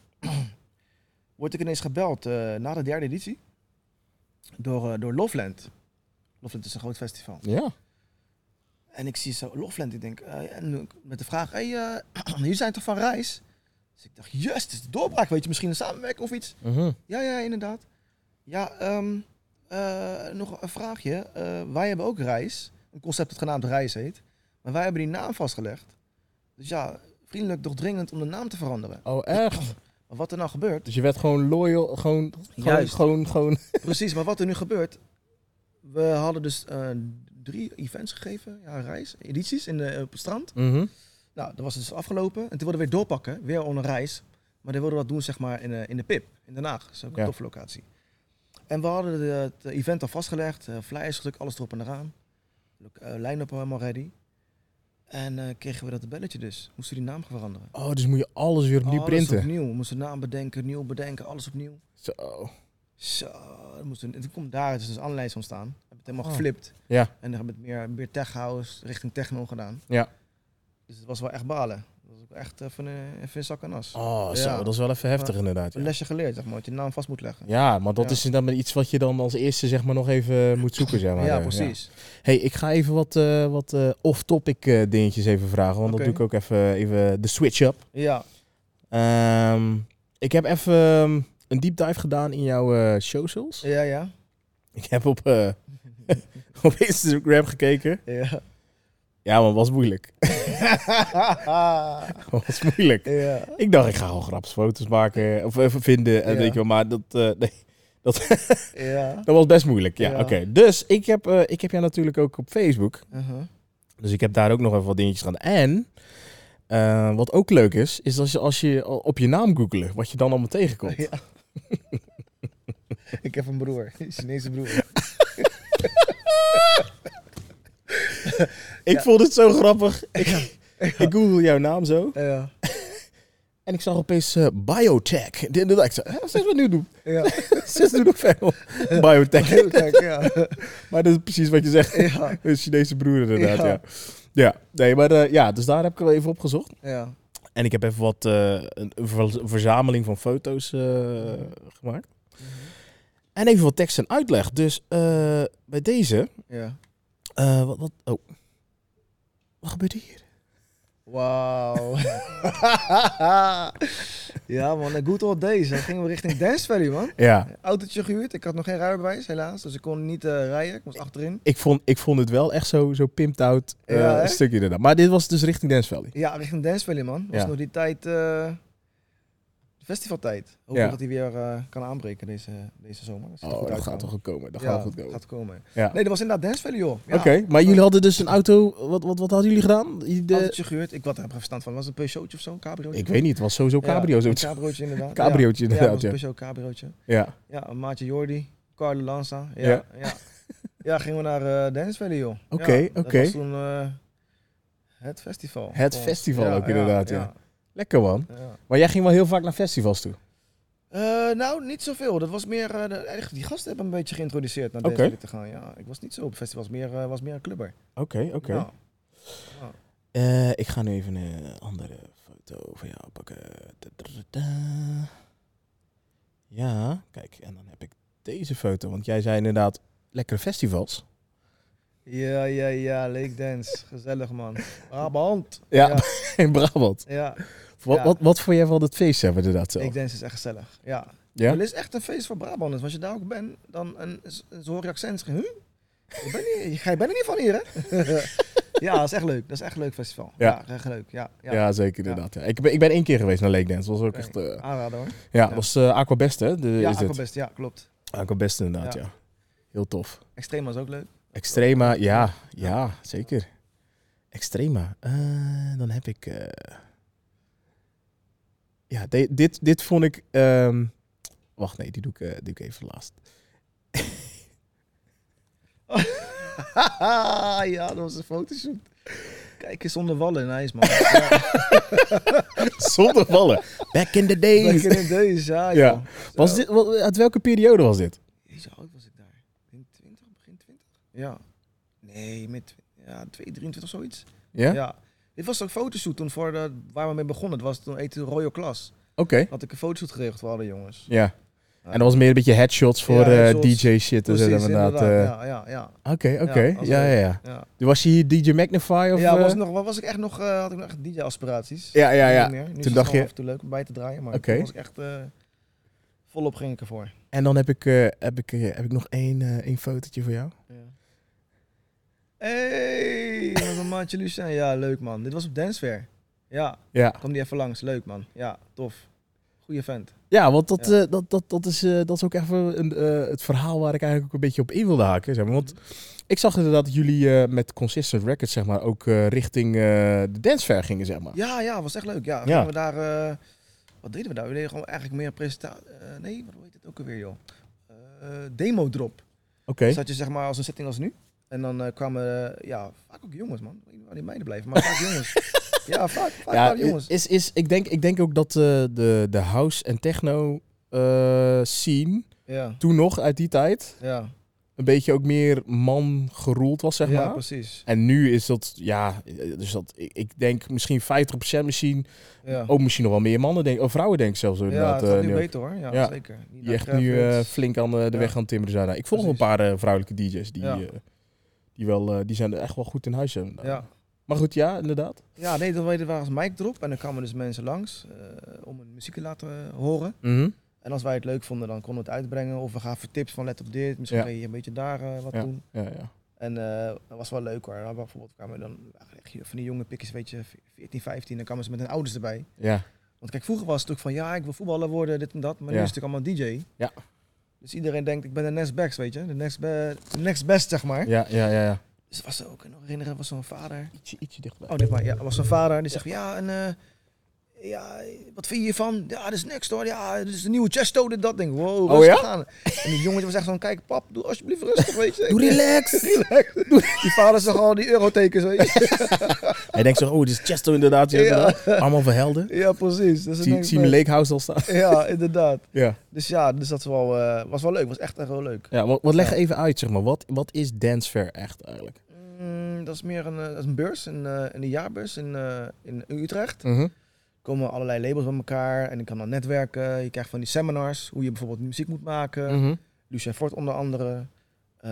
[CLEARS THROAT] word ik ineens gebeld eh, na de derde editie door, eh, door Loveland. Loveland is een groot festival. Ja. En ik zie zo Loveland, ik denk, eh, en ik- met de vraag, hey, eh, [CLEARS THROAT] jullie zijn toch van Reis? Dus ik dacht, yes, dit is de doorbraak, weet je, misschien een samenwerking of iets. Mhm. Ja, ja, inderdaad. Ja, ehm, eh, nog een vraagje. Eh, wij hebben ook Reis, een concept dat genaamd Reis heet. Maar wij hebben die naam vastgelegd. Dus ja, vriendelijk doch dringend om de naam te veranderen. Oh, echt? Maar wat er nou gebeurt, [LAUGHS] Dus je werd gewoon loyal, gewoon, gewoon, Juist. gewoon, gewoon... Precies, maar wat er nu gebeurt. We hadden dus eh, drie events gegeven, ja, reis, edities in de, op het strand. Mhm. Nou, dat was dus afgelopen. En toen wilden we weer doorpakken, weer onder reis. Maar dan wilden we dat doen zeg maar in, eh, in de PIP, in Den Haag. Dat is ook een Ja. toffe locatie. En we hadden de- het event al vastgelegd, eh, flyers gedrukt, alles erop en eraan. Loc- eh, Line-up al helemaal ready. En eh, kregen we dat belletje dus. Moesten we die naam gaan veranderen. Oh, dus moet je alles weer opnieuw alles printen. opnieuw. We moesten naam bedenken, nieuw bedenken, alles opnieuw. Zo. Zo, dat moest een, het komt daar is dus een lijst ontstaan. We hebben het helemaal Oh. geflipt. Ja. En dan hebben we het meer, meer tech house richting techno gedaan. Ja. Dus het was wel echt balen. Dat was ook echt even, eh, even in zak en as. Oh, zo. Ja. Dat is wel even heftig inderdaad. Een Ja. lesje geleerd, zeg maar, dat je naam vast moet leggen. Ja, maar dat Ja. is dan iets wat je dan als eerste zeg maar nog even moet zoeken, zeg maar. ja, Eh, precies. hey, ik ga even wat, eh, wat eh, off-topic eh, dingetjes even vragen, want dat Oké. doe ik ook even, even de switch-up. Ja. Ehm, ik heb even ehm, een deep dive gedaan in jouw eh socials. Ja, ja. Ik heb op, eh, [LAUGHS] op Instagram gekeken. Ja. [LAUGHS] Ja, man, was moeilijk. [LAUGHS] ja. was moeilijk. Ik dacht, ik ga gewoon grappige foto's maken of even vinden, en Ja. weet je wel, maar dat, eh, [LAUGHS] nee, Ja. dat was best moeilijk. Ja, Ja. oké. Dus ik heb, eh, ik heb jou natuurlijk ook op Facebook. Uh-huh. Dus ik heb daar ook nog even wat dingetjes gedaan. En eh, wat ook leuk is, is als je, als je al op je naam googelen, wat je dan allemaal tegenkomt. Ja. [LAUGHS] Ik heb een broer, [LAUGHS] een [LAUGHS] Chinese broer. Ik Ja. vond het zo grappig. Ik, ik google jouw naam zo. Ja. En ik zag opeens eh, biotech. Dit- dit- Ik zei, hè, wat is wat nu doen? Ja. [LAUGHS] [LAUGHS] Zes [LAUGHS] doen nog verder op. Biotech. Kijk, ja. Maar dat is precies wat je zegt. [LAUGHS] Ja. Een Chinese broer inderdaad, ja. Ja. Ja, nee, maar eh, ja, dus daar heb ik wel even op gezocht. Ja. En ik heb even wat, eh, een een ver- verzameling van foto's eh, gemaakt. En even wat tekst en uitleg. Dus eh, bij deze. Ja. eh, wat, wat, oh. Wat gebeurt [LAUGHS] hier? Wauw. ja man, een good old days. Dan gingen we [LAUGHS] richting Dance Valley man. Ja. Autootje gehuurd, ik had nog geen rijbewijs helaas. Dus ik kon niet eh, rijden, ik moest achterin. Ik vond, ik vond het wel echt zo, zo pimped out eh, Ja, hè? een stukje inderdaad. Maar dit was dus richting Dance Valley. Ja, richting Dance Valley man. was Ja. nog die tijd... eh, festivaltijd. Hoop Ja. dat hij weer eh, kan aanbreken deze, deze zomer. Dat ziet er Oh, goed dat uit, man. gaat toch goed komen. Dat Ja, gaat goed komen. Gaat komen. Ja. Nee, dat was inderdaad Dance Valley, joh. Ja. Oké, maar jullie hadden dus een auto. Wat, wat, wat hadden jullie gedaan? I- de- Autootje gehuurd. Ik wat heb er geen verstand van. Was het een Peugeotje of zo? Een cabriootje? Ik weet niet, het was sowieso Ja, cabrio. een zoiets. Ja, cabriootje inderdaad. [LAUGHS] Cabriootje ja. inderdaad, Ja, het was ja. een Peugeot cabriootje. ja. Ja, een maatje Jordi, Carlo Lanza. Ja, Ja. ja. ja. gingen we naar eh Dance Valley, joh. Oké, Ja, dat oké. was toen eh, het festival. Het Ons. festival ook inderdaad, ja. Lekker man. ja, ja. Maar jij ging wel heel vaak naar festivals toe. Eh, nou, niet zoveel. Dat was meer... eh, de, eigenlijk die gasten hebben me een beetje geïntroduceerd naar Oké. Dance Valley te gaan. Ja, ik was niet zo op festivals, meer, eh, was meer een clubber. Nou, Oké, oké. Ja. Eh, ik ga nu even een andere foto van jou pakken. Da-da-da-da. Ja, kijk, en dan heb ik deze foto. Want jij zei inderdaad lekkere festivals. ja, ja, ja. Lake Dance. Gezellig, [LAUGHS] man. Brabant. Ja, Ja. [LAUGHS] in Brabant. Ja, Wat, Ja. wat, wat vond jij van het feest hebben inderdaad zo? Lake Dance is echt gezellig. Ja. Ja? Het is echt een feest voor Brabanders. Als je daar ook bent, dan en, en ze hoor je accent. Huh? Je bent niet, je bent er niet van hier, hè? [LAUGHS] ja, dat is echt leuk. Dat is echt een leuk festival. Ja. Ja, echt leuk. Ja, ja. Ja, zeker inderdaad. Ja. Ik, ben, ik ben één keer geweest naar Lake Dance. Dat was ook Oké. echt... eh, Aanraden hoor. ja, Ja. was eh Aquabest hè? De, ja, is het. Aquabest. Ja, klopt. Aquabest inderdaad, ja. Ja. Heel tof. Extrema is ook leuk. [LAUGHS] Extrema, ja. Ja, zeker. Extrema. Eh, dan heb ik... eh, Ja, de- dit, dit vond ik... ehm, Wacht, nee, die doe ik, eh, doe ik even laatst. [LAUGHS] ja, dat was een fotoshoot. Kijk eens onder wallen. [LAUGHS] Nice, man. Ja, Zonder vallen. Back in the back days. in the days. Ja, Ja. joh. Was Zo. dit, wat- uit welke periode was dit? Jezus, hoe oud was ik daar? Ik denk 20, begin 20? Ja. Nee, met ja, 2, 23 of zoiets. Ja? Ja. Dit was ook een fotoshoot toen voor de, waar we mee begonnen. Het was toen eten Royal Class. Oké. Had ik een fotoshoot geregeld voor alle jongens. Ja. En dat was meer een beetje headshots voor Ja, eh, headshots. DJ shit. te zetten, inderdaad. eh. Ja, ja, ja. Oké, Ja, oké. dat was Ja, ja, leuk. ja. Ja, Was je hier DJ Magnify of... ja was, eh? nog, wa- was ik echt nog, eh, had ik nog echt DJ-aspiraties. Ja, ja, ja. Niet meer. Nu is Toen het dacht gewoon je- af en toe leuk om bij te draaien, maar Oké. toen was ik echt eh, volop ging ik ervoor. En dan heb ik, eh, heb ik, eh, heb ik nog één, eh, één fotootje voor jou. Ja. Hey, dat was een maatje Lucien. Ja, leuk man. Dit was op Dancewear. Ja, Ja. kwam die even langs. Leuk man. Ja, tof. Goeie vent. Ja, want dat, Ja. eh, dat, dat, dat, is, eh, dat is ook even een, eh, het verhaal waar ik eigenlijk ook een beetje op in wilde haken. Zeg maar. Want Mhm. ik zag inderdaad dat jullie eh, met Consistent Records zeg maar, ook eh, richting eh, de dance fair gingen, zeg maar. Ja, ja, was echt leuk. Ja, Ja. gingen we daar, eh, wat deden we daar? We deden gewoon eigenlijk meer presentatie. nee, wat heet het ook alweer, joh? Eh, demo drop. Oké. Dus dat je zeg maar als een setting als nu. En dan eh, kwamen, eh, ja, vaak ook jongens, man. Ik weet niet waar die meiden blijven, maar vaak [LAUGHS] jongens. Ja, vaak, vaak, Ja, kwamen nou, jongens. is, is, ik, denk, ik denk ook dat eh, de, de house en techno eh, scene Ja, toen nog uit die tijd ja. een beetje ook meer man geroeld was, zeg ja maar. precies. En nu is dat, ja, eh, dus dat, ik, ik denk misschien 50% misschien Ja. Ook misschien nog wel meer mannen, denk, of vrouwen denk ik zelfs. ja, inderdaad, het gaat eh, nu nu ook. beter hoor. Ja, Ja. zeker. Niet die naar echt nu eh, Kravitz. flink aan de, de Ja. weg aan het timmeren zijn. Nou, Ik volg wel een Precies. paar eh, vrouwelijke DJ's die, Ja. eh, die, wel, eh, die zijn er echt wel goed in huis hebben. Ja. Maar goed, ja, inderdaad. ja, nee, dan weten we waar als mic drop. En dan kwamen dus mensen langs eh, om hun muziek te laten eh, horen. En als wij het leuk vonden, dan konden we het uitbrengen. Of we gaven tips van let op dit. Misschien Ja. kun je hier een beetje daar eh, wat doen. Ja, ja. En eh, dat was wel leuk hoor. Dan bijvoorbeeld kwamen dan echt van die jonge pikjes, weet je, 14, 15. Dan kwamen ze met hun ouders erbij. ja. Want kijk, vroeger was het ook van ja, ik wil voetballer worden, dit en dat. Maar Ja. nu is het natuurlijk allemaal DJ. Ja. Dus iedereen denkt, ik ben de next best, weet je. De next, be- de next best, zeg maar. Ja, ja, ja. ja. Dus was er ook, ik kan me herinneren, was zo'n vader. Ietsje, ietsje dichterbij. Oh, dit maar, ja, was zijn vader. Die zegt, ja, en eh, ja, wat vind je hiervan? Ja, dit is niks hoor. Ja, dit is de nieuwe Chesto, dit, dat. Denk, ik, Oh, wow, rustig ja? aan. En die jongetje was echt van, kijk pap, doe alsjeblieft rustig, weet je. [LAUGHS] Doe relax! Relax. Die vader zag al die eurotekens, [LAUGHS] weet je. Hij denkt zo, oh, dit is Chesto inderdaad. Ja. Ja. inderdaad. Allemaal [LAUGHS] verhelden. Ja, precies. Dus dan Zie, denk ik zie mijn van- Lakehouse al staan. Ja, inderdaad. Ja. Dus ja, dus dat was wel, eh, was wel leuk. Was echt echt wel leuk. ja wat, wat leg Ja. even uit, zeg maar. Wat, wat is dance fair echt eigenlijk? Mm, dat is meer een, eh, dat is een beurs, een, eh, een jaarbeurs in, eh, in Utrecht. komen allerlei labels bij elkaar en ik kan dan netwerken. Je krijgt van die seminars, hoe je bijvoorbeeld muziek moet maken. Mhm. Lucien Fort onder andere. Eh,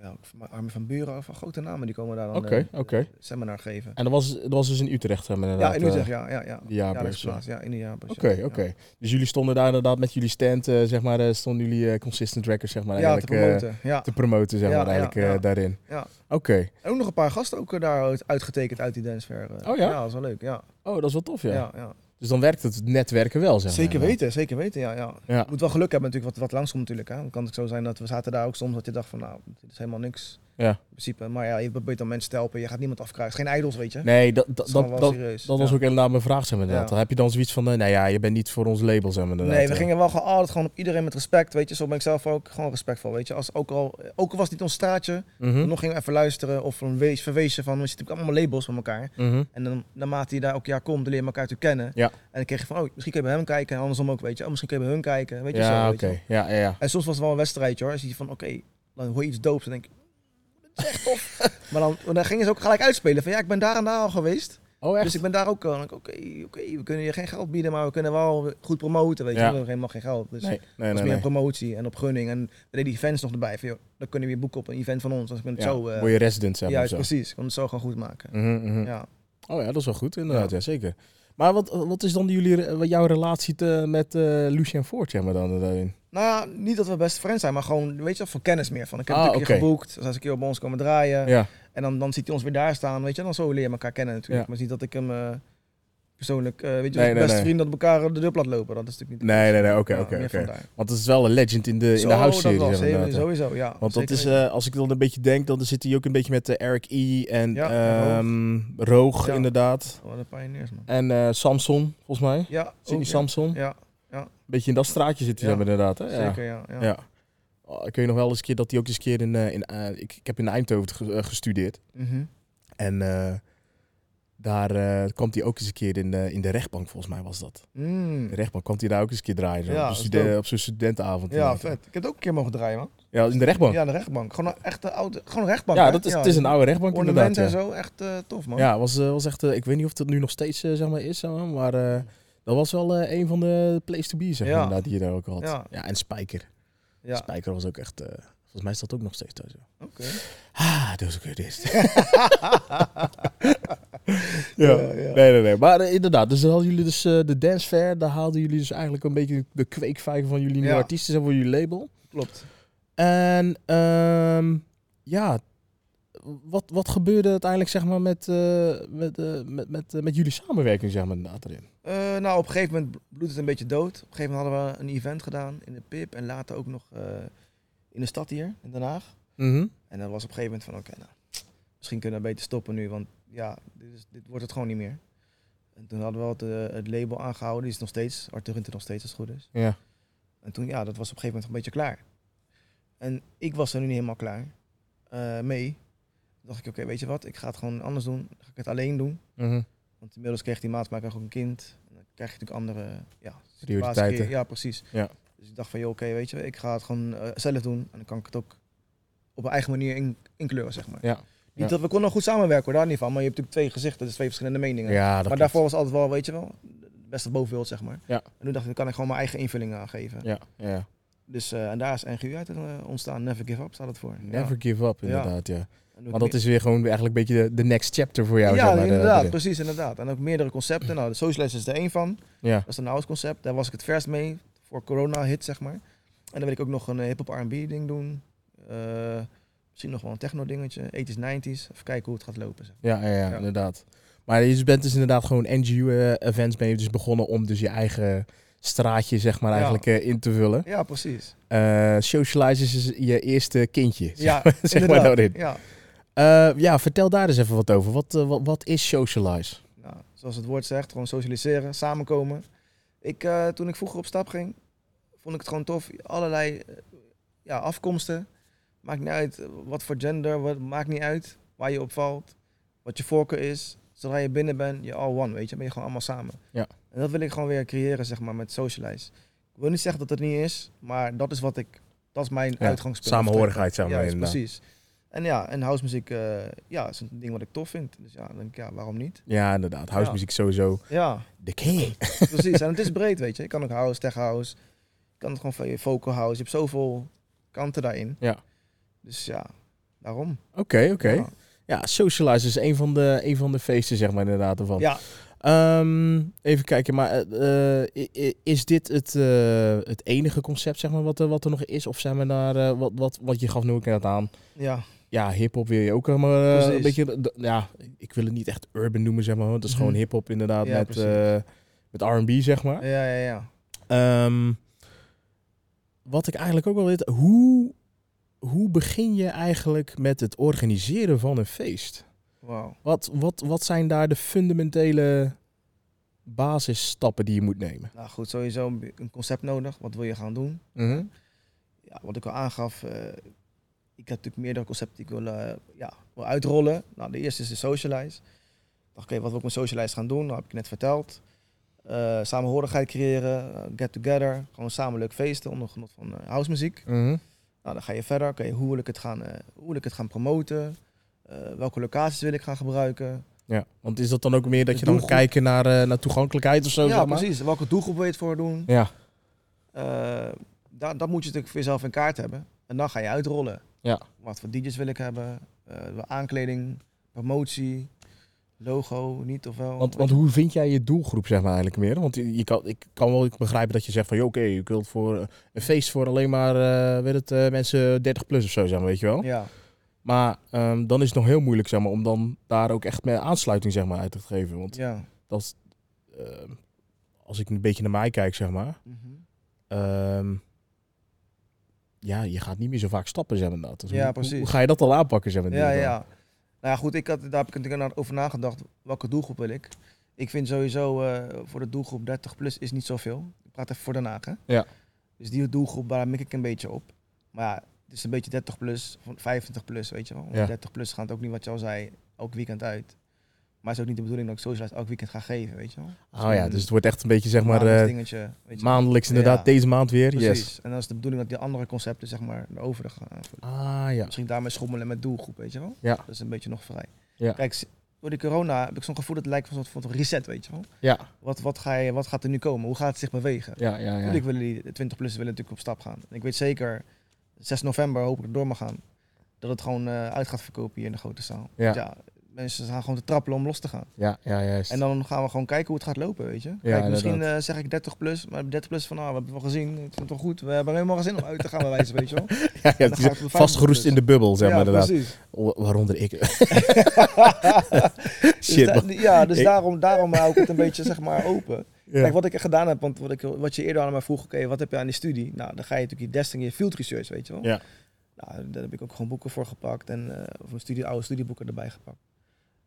ja, ook van Armin van Buren, van grote namen, die komen daar dan Oké, eh, oké. seminar geven. En dat was, dat was dus in Utrecht, zeg maar, Ja, inderdaad. in eh, Utrecht, ja. Ja, ja. die jaarbeurs, Ja, dat is plaats, ja, in de jaarbeurs. Oké, oké. Dus jullie stonden daar inderdaad met jullie stand, eh, zeg maar, eh, stonden jullie eh, consistent records, zeg maar, Ja, ja te eigenlijk eh, promoten. Ja. te promoten, zeg Ja, maar, ja, eigenlijk eh, ja. daarin. Ja. Oké. En ook nog een paar gasten ook eh, daar uit- uitgetekend uit die dancefair. eh. Oh, ja? Ja, dat is wel leuk, ja. Oh, dat is wel tof, ja. Ja, ja. Dus dan werkt het netwerken wel, zeg maar. Zeker weten, zeker weten, ja. ja. Ja. Je moet wel geluk hebben natuurlijk wat, wat langskomt natuurlijk. Hè. Dan kan het zo zijn dat we zaten daar ook soms dat je dacht van nou, dit is helemaal niks. Ja. In principe. Maar ja, je probeert dan mensen te helpen. Je gaat niemand afkrijgen. Geen idols, weet je. Nee, dat, Dat dat, is gewoon dat, wel dat, serieus. dat was Ja. ook inderdaad mijn vraag, zeg maar. inderdaad. Ja. Dan heb je dan zoiets van, eh, nou ja, je bent niet voor ons label, zeg maar. inderdaad. Nee, we Eh, gingen wel gewoon altijd gewoon op iedereen met respect, weet je. Zo ben ik zelf ook gewoon respectvol, weet je. Als, ook, al, ook al was het niet ons straatje, mhm, nog gingen we even luisteren of een wees, verwezen van, we zitten natuurlijk allemaal labels van elkaar. mhm. En dan, naarmate je daar elk jaar komt, dan leer je elkaar te kennen. Ja. En dan kreeg je van, oh, misschien kun je bij hem kijken. En andersom ook, weet je. Oh, misschien kun je bij hun kijken, weet je. zo, Ja, oké. weet je wel. Ja, ja, ja. En soms was het wel een wedstrijdje hoor. Dan zie je van, oké, dan hoor je iets doops en denk ik, dat is echt tof. [LAUGHS] maar dan, dan gingen ze ook gelijk uitspelen van, ja, ik ben daar en daar al geweest. Oh, echt? Dus ik ben daar ook al. En ik, Oké, oké, we kunnen je geen geld bieden, maar we kunnen wel goed promoten, weet je. Ja. We hebben helemaal geen geld. Dus nee, nee, dat nee. was meer nee. promotie en op gunning. En we deden events nog erbij. Van, joh, dan kunnen we je boeken op een event van ons. Dan kunnen we Ja, het zo... eh, word je resident, zeg maar. juist, zo. precies. Ik kon het zo gewoon goed maken. Mhm, mhm. Ja. Oh ja, dat is wel goed, inderdaad. Ja. zeker. Maar wat, wat is dan jullie, re- wat jouw relatie te, met eh, Lucien Ford, zeg maar, dan eh, daarin? Nou ja, niet dat we best friends zijn, maar gewoon, weet je wel, van kennis meer. Van, ik heb Ah, natuurlijk oké. je geboekt, dus als ik hier bij ons komen draaien. Ja. En dan, dan ziet hij ons weer daar staan, weet je. Dan zo leer je elkaar kennen natuurlijk. Ja. Maar het is niet dat ik hem eh, persoonlijk, eh, weet je, Nee, als nee, beste nee. vrienden dat we elkaar de deur plat lopen. Dat is natuurlijk niet... Nee, nee, nee, oké, Ja, oké, meer oké. vandaar. Want het is wel een legend in de, in Zo, de dat house-series. wel, zeg maar, inderdaad, hè. Sowieso, ja. Want dat zeker is, weten. eh, als ik dan een beetje denk, dan zit hij ook een beetje met de Eric E. en Ja, ehm, Roog, Ja. inderdaad. Wat een Oh, pioneers, man. En eh, Samson, volgens mij. Ja, Sidney ook, Oh, ja. Samson. Ja, beetje in dat straatje zit hij Ja, dan inderdaad. Hè? Ja. zeker, ja. ja. Ja. Oh, ik weet nog wel eens een keer dat hij ook eens een keer in... eh, in eh, ik, ik heb in Eindhoven ge- eh, gestudeerd. Mhm. En eh, daar eh, kwam hij ook eens een keer in, de- in de rechtbank, volgens mij was dat. Mm. De rechtbank kwam hij daar ook eens een keer draaien. zo, Ja, op, dat is een stude- dope. op zo'n studentenavond. Ja, inderdaad. vet. Ik heb het ook een keer mogen draaien, man. Ja, in de rechtbank. Ja, Ja, de rechtbank. Gewoon een echte oude, gewoon een rechtbank. hè? Oh. dat is, het is een oude rechtbank inderdaad. Ornamenten Ja. en zo, echt eh, tof, man. Ja, was, eh, was echt. eh, ik weet niet of dat nu nog steeds eh, zeg maar, is, zeg maar, maar eh, dat was wel eh, een van de place to be, zeg maar, Ja. inderdaad, die je daar ook had. Ja, Ja. en Spijker. Ja, Spijker was ook echt. eh, volgens mij is dat ook nog steeds thuis. ja. oké. Ah, dat is ook weer dit. [LAUGHS] ja. Ja, ja. Nee, nee, nee. Maar eh, inderdaad, dus dan hadden jullie dus eh, de dance fair. Daar haalden jullie dus eigenlijk een beetje de kweekvijver van jullie nieuwe Ja. artiesten en voor jullie label. [LAUGHS] [LAUGHS] Klopt. En ehm, ja, wat, wat gebeurde uiteindelijk zeg maar met, eh, met, eh, met, met, eh, met jullie samenwerking zeg maar inderdaad erin? Eh, nou, op een gegeven moment bloedt het een beetje dood. Op een gegeven moment hadden we een event gedaan in de Pip en later ook nog eh, in de stad hier, in Den Haag. En dan was op een gegeven moment van, oké, nou, misschien kunnen we beter stoppen nu, want ja, dit, is, dit wordt het gewoon niet meer. En toen hadden we het, eh, het label aangehouden, die is nog steeds, Arthur Hunter nog steeds, als het goed is. Ja. En toen, ja, dat was op een gegeven moment een beetje klaar. En ik was er nu niet helemaal klaar eh, mee. Toen dacht ik, oké, weet je wat, ik ga het gewoon anders doen. Dan ga ik het alleen doen. Want inmiddels kreeg die maatmaker ook een kind. En dan krijg je natuurlijk andere ja, Prioriteiten. situaties. Ja, precies. Ja. Dus ik dacht van, joh, oké, weet je, ik ga het gewoon eh, zelf doen. En dan kan ik het ook op mijn eigen manier in, inkleuren, zeg maar. Ja, ja. Niet dat we konden goed samenwerken, hoor, daar niet van. Maar je hebt natuurlijk twee gezichten, dus twee verschillende meningen. Ja, dat maar klopt. daarvoor was altijd wel, weet je wel, het beste bovenbeeld, zeg maar. Ja. En toen dacht ik, dan kan ik gewoon mijn eigen invulling aan geven. Ja, ja. Dus, eh, en daar is NGU uit eh, ontstaan. Never Give Up staat het voor. Never give up inderdaad, ja. Ja. En Maar ook dat is weer gewoon eigenlijk een beetje de, de next chapter voor jou. ja, zeg maar, eh, inderdaad, erin. precies, inderdaad. En ook meerdere concepten. Nou, de socialist is er één van. Ja. Dat is een house concept. Daar was ik het verst mee voor corona hit, zeg maar. En dan wil ik ook nog een eh, hip-hop R&B ding doen. Eh, misschien nog wel een techno dingetje. 80s, 90s. Even kijken hoe het gaat lopen. Zeg. Ja, ja, ja, Ja. inderdaad. Maar je bent dus inderdaad gewoon NGO-events mee dus begonnen om dus je eigen straatje zeg maar Ja. eigenlijk eh, in te vullen. Ja, precies. Eh Socialize is je eerste kindje. Ja, [LAUGHS] zeg maar nou inderdaad. daarin. Ja. Eh, ja, vertel daar eens even wat over. Wat, eh, wat, wat is socialize? Nou, zoals het woord zegt, gewoon socialiseren, samenkomen. Ik, eh, toen ik vroeger op stap ging, vond ik het gewoon tof. Allerlei eh, ja, afkomsten. Maakt niet uit wat voor gender, wat, maakt niet uit waar je op valt, wat je voorkeur is. Zodra je binnen bent, je all one, weet je. Dan ben je gewoon allemaal samen. Ja. En dat wil ik gewoon weer creëren, zeg maar, met socialize. Ik wil niet zeggen dat het niet is, maar dat is wat ik, dat is mijn Ja, uitgangspunt. Samenhorigheid, zeg maar, Juist, inderdaad. precies. En ja, en housemuziek eh, ja, is een ding wat ik tof vind. Dus ja, dan denk ik, ja, waarom niet? Ja, inderdaad. Housemuziek sowieso. Ja. De king. Precies, en het is breed, weet je. Je kan ook house, tech house. Je kan het gewoon van je vocal house. Je hebt zoveel kanten daarin. Ja. Dus ja, daarom. Oké, oké. Ja. Ja, socialize is een van, de, een van de feesten, zeg maar inderdaad. Ervan. Ja. Ehm, even kijken, maar eh, eh, i- i- is dit het, eh, het enige concept zeg maar, wat, er- wat er nog is? Of zijn we daar, eh, wat, wat, wat je gaf nu ook net aan, ja. ja, hip-hop wil je ook, eh, maar eh, Precies. een beetje, d- ja, ik wil het niet echt urban noemen, zeg maar, want het is Mhm. gewoon hip-hop inderdaad Ja, met, precies. eh, Met R&B, zeg maar. Ja, ja, ja. Ehm, wat ik eigenlijk ook wel weet, hoe, hoe begin je eigenlijk met het organiseren van een feest? Wauw. Wat, wat, wat zijn daar de fundamentele basisstappen die je moet nemen? Nou goed, sowieso een een concept nodig. Wat wil je gaan doen? ja, wat ik al aangaf, eh, ik heb natuurlijk meerdere concepten die ik wil, eh, ja, wil uitrollen. Nou, de eerste is de socialize. Ik dacht, oké, wat wil ik met socialize gaan doen? Dat heb ik net verteld. Eh, samenhorigheid creëren, eh, get together, gewoon samen leuk feesten onder genot van eh, housemuziek. Nou, dan ga je verder. Oké, hoe wil ik het gaan, eh, hoe wil ik het gaan promoten? Eh, welke locaties wil ik gaan gebruiken? Ja, want is dat dan ook meer dat De je dan doelgroep. kijken naar, eh, naar toegankelijkheid of zo? ja, zeg maar? precies. Welke doelgroep wil je het voor doen? Ja, Eh, da- dat moet je natuurlijk voor jezelf in kaart hebben. En dan ga je uitrollen. Ja. Wat voor DJ's wil ik hebben? eh, aankleding, promotie, logo, niet of wel. want, want hoe vind jij je doelgroep zeg maar eigenlijk meer? Want je, je kan, ik kan wel begrijpen dat je zegt van, joh, oké, ik wil voor eh, een feest voor alleen maar, eh, weet het, eh, mensen 30 plus of zo zijn, weet je wel? Ja, Maar ehm, dan is het nog heel moeilijk zeg maar, om dan daar ook echt mee aansluiting zeg maar, uit te geven. Want ja. dat, is, ehm, als ik een beetje naar mij kijk, zeg maar. Mhm. ehm, ja, je gaat niet meer zo vaak stappen, zeg maar. Dat. Dus Ja, hoe- hoe, precies. Hoe ga je dat al aanpakken, zeg maar? Ja, die- ja. Nou ja, goed, ik had, daar heb ik natuurlijk aan- over nagedacht. Welke doelgroep wil ik? Ik vind sowieso eh, voor de doelgroep 30 plus is niet zoveel. Ik praat even voor Den Haag, hè? Ja. Dus die doelgroep, daar mik ik een beetje op. Maar ja, het is een beetje 30 plus, van 25 plus, weet je wel. Want Ja. 30 plus gaat ook niet, wat je al zei, elk weekend uit. Maar het is ook niet de bedoeling dat ik socialize elk weekend ga geven, weet je wel. Oh ja, dus het wordt echt een beetje, zeg maar, Maandelijks eh, dingetje, weet je wel. maandelijks inderdaad, Ja. deze maand weer. Precies. Yes. En dan is de bedoeling dat die andere concepten, zeg maar, de overige eh, gaan aanvullen. Ah ja. Misschien daarmee schommelen met doelgroep, weet je wel? Ja. Dat is een beetje nog vrij. Ja. Kijk, s- door die corona heb ik zo'n gevoel dat het lijkt van een soort van reset, weet je wel? Ja, Wat, wat, ga je, wat gaat er nu komen? Hoe gaat het zich bewegen? ja, ja. ja. Natuurlijk willen die 20-plussers willen natuurlijk op stap gaan. En ik weet zeker, 6 november hoop ik het door mag gaan, dat het gewoon eh, uit gaat verkopen hier in de grote zaal. Ja. Want ja, mensen gaan gewoon te trappelen om los te gaan. Ja, ja, juist. En dan gaan we gewoon kijken hoe het gaat lopen, weet je. Kijk, misschien eh, zeg ik 30 plus, maar 30 plus van, ah, we hebben het wel gezien, het komt wel goed. We hebben helemaal geen zin om uit te gaan bij wijze, weet je [LAUGHS] wel. [LAUGHS] ja, ja, dan het ga ik is voor de vastgeroest 25 in de bubbel, zeg maar, ja, inderdaad. precies. O, Waaronder [LAUGHS] ik. [LAUGHS] Dus Shit, da- man. ja, dus Ik- daarom, daarom hou ik het een beetje zeg maar open. [LAUGHS] Ja. Kijk, wat ik gedaan heb, want wat, ik, wat je eerder aan mij vroeg, oké, wat heb je aan die studie? Nou, dan ga je natuurlijk je desting, je field research, weet je wel. Ja. Nou, daar heb ik ook gewoon boeken voor gepakt en eh, of mijn studie, oude studieboeken erbij gepakt.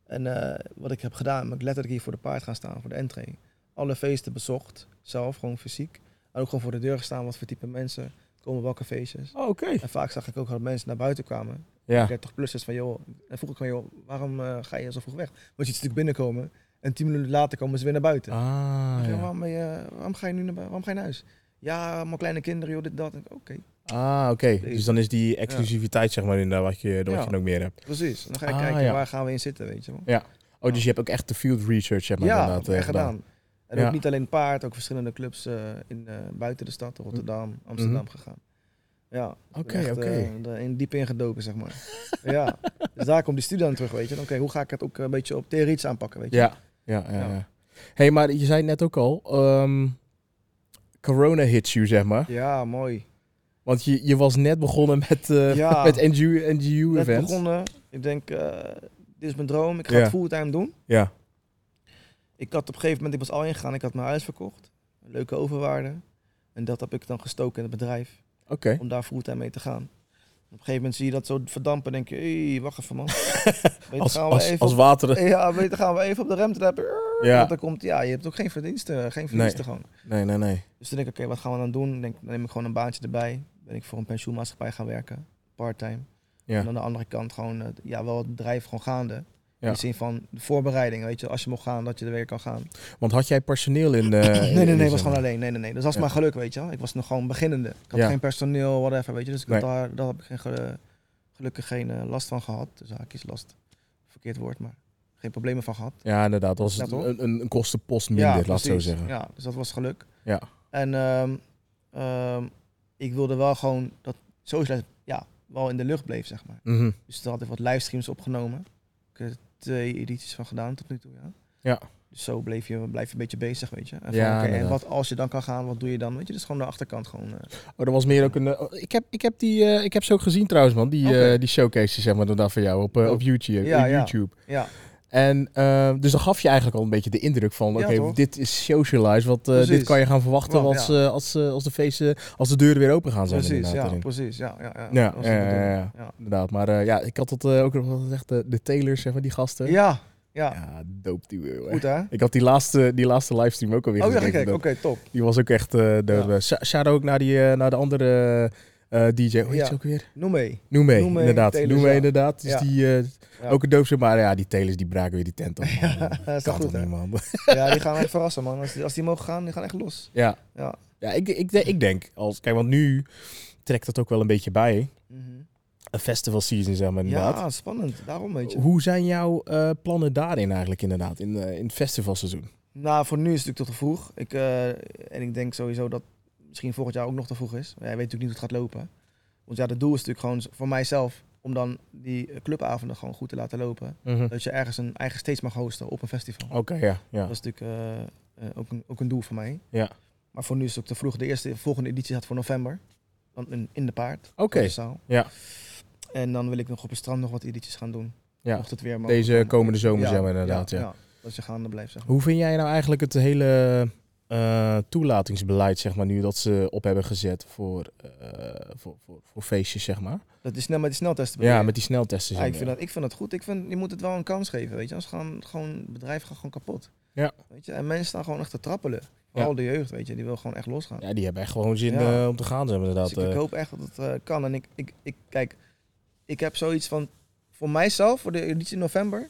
En eh, wat ik heb gedaan, ben ik letterlijk hier voor de paard gaan staan, voor de entree. Alle feesten bezocht, zelf, gewoon fysiek. En ook gewoon voor de deur gestaan, wat voor type mensen komen, welke feestjes. Oh, Oké. En vaak zag ik ook dat mensen naar buiten kwamen 30 plus is van joh. En vroeg ik van joh, waarom eh, ga je zo vroeg weg? Want je ziet natuurlijk binnenkomen en 10 minuten later komen ze weer naar buiten. Ja. Ik Ah, zeg, ja. waarom, ben je, waarom ga je nu naar bui- Waarom ga je naar huis? Ja, mijn kleine kinderen, joh, dit, dat. Ik, Oké, Ah, oké. Dus dan is die exclusiviteit, zeg maar, inderdaad, wat je, wat Ja. je dan ook meer hebt. precies. En dan ga je Ah, kijken ja. waar gaan we in zitten, weet je wel. Oh, dus je hebt ook echt de field research, zeg maar, ja, dat inderdaad. heb ik eh, echt gedaan. En Ja. ook niet alleen paard, ook verschillende clubs eh, in, eh, buiten de stad, Rotterdam, Amsterdam gegaan. Ja, ik ben Mhm. Oké, echt, oké. eh, er in diep ingedoken, zeg maar. [LAUGHS] ja, dus daar komt die studie aan terug, weet je. Dan, Oké, hoe ga ik het ook een beetje op theoretisch aanpakken, weet je. Ja, ja, ja. Ja. ja. hey, maar je zei het net ook al, ehm, corona hits you, zeg maar. ja mooi. Want je, je was net begonnen met, eh [LAUGHS] Ja. met NGU, NGU net events. begonnen. Ik denk, eh, dit is mijn droom. Ik ga Ja. het fulltime doen. Ja, Ik had op een gegeven moment, ik was al ingegaan, ik had mijn huis verkocht. Een leuke overwaarde. En dat heb ik dan gestoken in het bedrijf, oké. om daar fulltime mee te gaan. Op een gegeven moment zie je dat zo verdampen en denk je, hey, [LAUGHS] wacht even man. Weet, Als, gaan we als, even als op, water. ja, weet, gaan we even op de rem trappen. Ja. Want dan komt, ja, je hebt ook geen verdiensten, geen verdiensten gewoon. Nee, nee, nee. Dus toen denk ik, oké, wat gaan we dan doen? Ik Denk, dan neem ik gewoon een baantje erbij. Ben ik voor een pensioenmaatschappij gaan werken, parttime. Ja, En aan de andere kant gewoon, eh, ja, wel het bedrijf gewoon gaande. Ja. In de zin van de voorbereiding, weet je. Als je mocht gaan, dat je er weer kan gaan. want had jij personeel in... eh, [COUGHS] nee, in- nee, nee, in- was gewoon alleen. Nee, nee, nee. Dus dat was Ja. mijn geluk, weet je wel. Ik was nog gewoon beginnende. Ik had Ja. geen personeel, whatever, weet je. Dus ik had Nee. daar, daar heb ik geen, ge- gelukkig geen eh, last van gehad. Dus haakjes last. Verkeerd woord, maar geen problemen van gehad. Ja, inderdaad. Was Ja, het toch? een, een, een kostenpost minder, laat ik zo precies. zeggen. Ja, dus dat was geluk. Ja. En ehm, ehm, ik wilde wel gewoon dat socialisme, ja, wel in de lucht bleef, zeg maar. Mhm. Dus daar had ik wat livestreams opgenomen. Ik heb er twee edities van gedaan tot nu toe, ja. Ja. Dus zo bleef je, blijf je een beetje bezig, weet je. En, van, Ja, oké, en inderdaad. wat als je dan kan gaan, wat doe je dan? Weet je, dus gewoon de achterkant gewoon. eh. Oh, dat was meer ook een... eh, oh, ik, heb, ik, heb die, eh, ik heb ze ook gezien trouwens, man. Die, eh Oké. die showcase, zeg maar, inderdaad van jou op, eh, op YouTube. Ja, eh, ja. YouTube. ja, En eh, dus dan gaf je eigenlijk al een beetje de indruk van, Ja, oké, toch? dit is socialize, wat, eh, dit Precies. kan je gaan verwachten Wel, als, ja. eh, als, eh, als, de feesten, als de deuren weer open gaan. Zijn Precies, inderdaad, ja, erin. precies. Ja, ja, ja. Ja, dat was de ja, ja, bedoeling. ja. Inderdaad, maar eh, ja, ik had dat eh, ook nog wel gezegd, de, de telers, zeg maar, die gasten. Ja, ja. ja dope die weer, hoor. Goed hè? Ik had die laatste, die laatste livestream ook alweer Oh ja, gekeken, kijk, oké, dat- top. Die was ook echt eh dood. Ja. Sh- Shout-out ook naar, die, eh, naar de andere eh, eh, DJ. Hoe heet Ja. ze ook weer? Noem mee. [LAUGHS] Noemé, Noemé, inderdaad. Telers, Noemé, ja. inderdaad. Dus Ja. die, eh, Ja. ook een doofse, maar ja, die telers die braken weer die tent [LAUGHS] op. man. dat is kan toch toch goed hè? niet, man. Ja, die gaan echt verrassen man. Als die, als die mogen gaan, die gaan echt los. [LAUGHS] ja. Ja. Ja, ik, ik, de- ik denk, als, kijk, want nu trekt dat ook wel een beetje bij. Mhm. Een festival season, zeg maar, inderdaad. Ja, spannend. Daarom weet je. Hoe zijn jouw eh, plannen daarin eigenlijk, inderdaad, in, eh, in het festivalseizoen? Nou, voor nu is het natuurlijk toch te vroeg. Ik, eh, en ik denk sowieso dat misschien volgend jaar ook nog te vroeg is. Maar ja, je weet natuurlijk niet hoe het gaat lopen. Want ja, het doel is natuurlijk gewoon voor mijzelf om dan die eh, clubavonden gewoon goed te laten lopen. Mhm. Dat je ergens een eigen stage mag hosten op een festival. Oké, ja. ja. Dat is natuurlijk eh, eh, ook, een, ook een doel voor mij. Ja. Maar voor nu is het ook te vroeg. De eerste volgende editie gaat voor november. Dan in, in de paard. Oké, Koningszaal. ja. En dan wil ik nog op het strand nog wat edities gaan doen. Ja. Mocht het weer mogen Deze komen. komende zomer, Ja, zeg maar, inderdaad. ja. Dat je gaande blijft, zeg maar. Hoe vind jij nou eigenlijk het hele eh, toelatingsbeleid, zeg maar, nu dat ze op hebben gezet voor, eh, voor, voor, voor feestjes, zeg maar? Dat is snel met die sneltesten. bedoel Ja, je? met die sneltesten. Ja, zeg ik, vind maar. dat, ik vind dat goed. Ik vind, je moet het wel een kans geven, weet je. Anders gaan gewoon bedrijven gaan gewoon kapot. Ja. Weet je? En mensen staan gewoon echt te trappelen. Ja. Al de jeugd, weet je. Die wil gewoon echt losgaan. Ja, die hebben echt gewoon zin Ja. eh, om te gaan, zeg maar, inderdaad. dus ik, ik eh. hoop echt dat het eh, kan. En ik, ik, ik, kijk, ik heb zoiets van, voor mijzelf, voor de editie in november,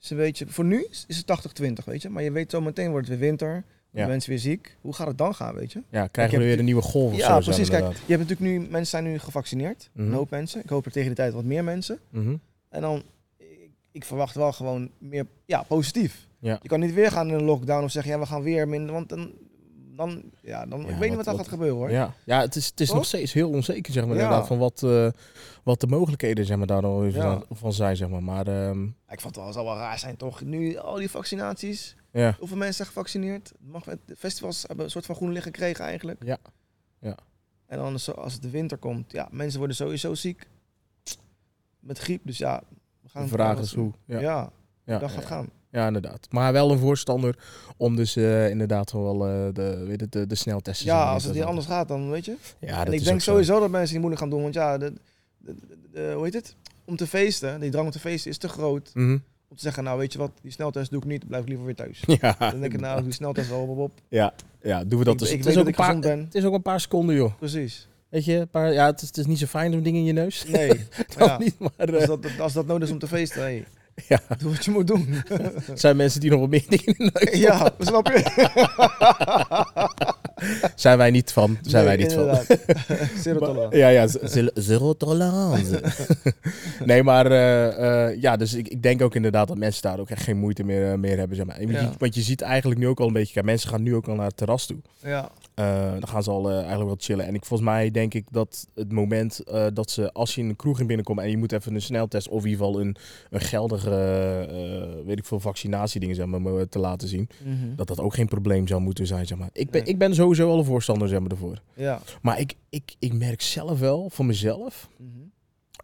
is een beetje, voor nu is is het 80-20, weet je. Maar je weet zo meteen wordt het weer winter, worden Ja. mensen weer ziek. Hoe gaat het dan gaan, weet je? ja, heb krijgen we weer natuurlijk- een nieuwe golf of zo, Ja, zeg maar, precies. Kijk, je inderdaad. hebt natuurlijk nu, mensen zijn nu gevaccineerd, Mhm. een hoop mensen. Ik hoop er tegen de tijd wat meer mensen. Mhm. En dan, ik, ik verwacht wel gewoon meer ja, positief. Ja. Je kan niet weer gaan in een lockdown of zeggen, ja, we gaan weer minder. Want dan, dan ja, dan, Ja, ik weet niet wat- wat daar wat- gaat gebeuren hoor. Ja, ja het is, het is Toch? nog steeds heel onzeker, zeg maar, Ja. inderdaad, van wat, eh, wat de mogelijkheden, zeg maar, daar dan weer Ja. van- van zijn, zeg maar. Maar ehm, Ik vond het wel, het zal wel raar zijn toch. Nu al die vaccinaties. ja, Hoeveel mensen zijn gevaccineerd? Mag, de festivals hebben een soort van groen licht gekregen eigenlijk. Ja. Ja. En dan zo- als het de winter komt, ja, mensen worden sowieso ziek. Met griep, dus ja. We gaan de vraag wat- is hoe. Ja, Ja, ja. dat ja, gaat ja. gaan. Ja, inderdaad. Maar wel een voorstander om dus eh, inderdaad wel eh, de, weet het, de, de sneltesten... zeg Ja, maar, als het dat- niet anders gaat, dan weet je. Ja, dat en ik is denk ook zo. sowieso dat mensen die moeilijk gaan doen. Want ja, de, de- de- de- hoe heet het? Om te feesten, die drang om te feesten is te groot. Mhm. [LAUGHS] Om te zeggen, nou weet je wat, die sneltest doe ik niet, blijf ik liever weer thuis. Ja, Dan denk ik, nou, ik doe sneltest wel op, op, op. ja, doen we dat ik, dus. ik het, is ook weet dat een ik paar, gezond ben. het is ook een paar seconden, joh. Precies. Weet je, een paar, ja, het, is, het is niet zo fijn zo'n ding in je neus. [LAUGHS] Nee, Dat [LAUGHS] ja. niet, maar eh, als, dat, als dat nodig is om te feesten, hey, ja, doe wat je moet [LAUGHS] doen. [LAUGHS] het zijn mensen die nog wat meer dingen in hun neus ja, snap je? Zijn wij niet van, zijn wij niet van. [LAUGHS] van. Zero tolerant. Ja, ja, z- zero- zero tolerance. [LAUGHS] nee, maar eh, eh, ja, dus ik, ik denk ook inderdaad dat mensen daar ook echt geen moeite meer, eh, meer hebben. Zeg maar. En je- Ja. Want je ziet eigenlijk nu ook al een beetje, kijk, mensen gaan nu ook al naar het terras toe. Ja, Eh, dan gaan ze al eh, eigenlijk wel chillen. En ik, volgens mij denk ik dat het moment eh, dat ze, als je in een kroeg in binnenkomt en je moet even een sneltest of in ieder geval een, een geldige, eh, eh, weet ik veel, vaccinatiedingen zeg maar, mo- te laten zien, Mhm. dat dat ook geen probleem zou moeten zijn. Zeg maar. ik, ben, Nee. ik ben sowieso al een voorstander zeg maar, ervoor. ja. Maar ik, ik, ik merk zelf wel, voor mezelf, Mhm.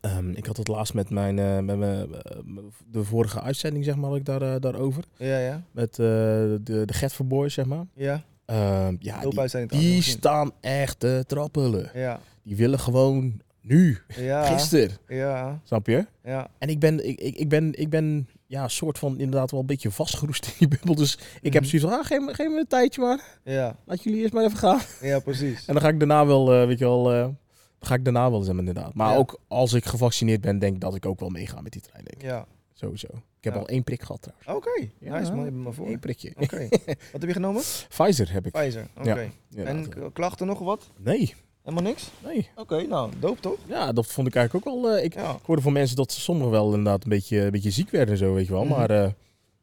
Ehm, ik had het laatst met mijn, eh, met mijn, eh, m- de vorige uitzending, zeg maar, had ik daar, eh, daarover. ja, ja, Met eh, de, de Get for Boys, zeg maar. ja. Ehm, ja, Doop die, uitzending die trouwens, nog staan echt te trappelen. niet. Ja, Die willen gewoon nu, ja, gisteren, ja, snap je? ja. En ik ben, ik, ik, ik ben, ik ben ja, soort van inderdaad wel een beetje vastgeroest in die bubbel. Dus ik heb Mhm. zoiets van, ah, geef, me- geef me een tijdje maar. Ja, Laat jullie eerst maar even gaan. ja, precies. En dan ga ik daarna wel, eh, weet je wel, eh, dan ga ik daarna wel eens, inderdaad. Maar Ja. ook als ik gevaccineerd ben, denk ik dat ik ook wel meega met die trein, denk ik. Ja. Sowieso. Ik heb Ja. al één prik gehad trouwens. Oké, Ja. nice man, je bent maar voor. Eén prikje. Oké, [LAUGHS] wat heb je genomen? Pfizer heb ik. Pfizer, oké. Ja, en dat- k- klachten nog wat? nee, Helemaal niks? nee. Oké, nou, doop toch? Ja, dat vond ik eigenlijk ook wel... eh, ik, Ja. ik hoorde van mensen dat ze sommigen wel inderdaad een beetje, een beetje ziek werden en zo, weet je wel. Mhm. Maar eh,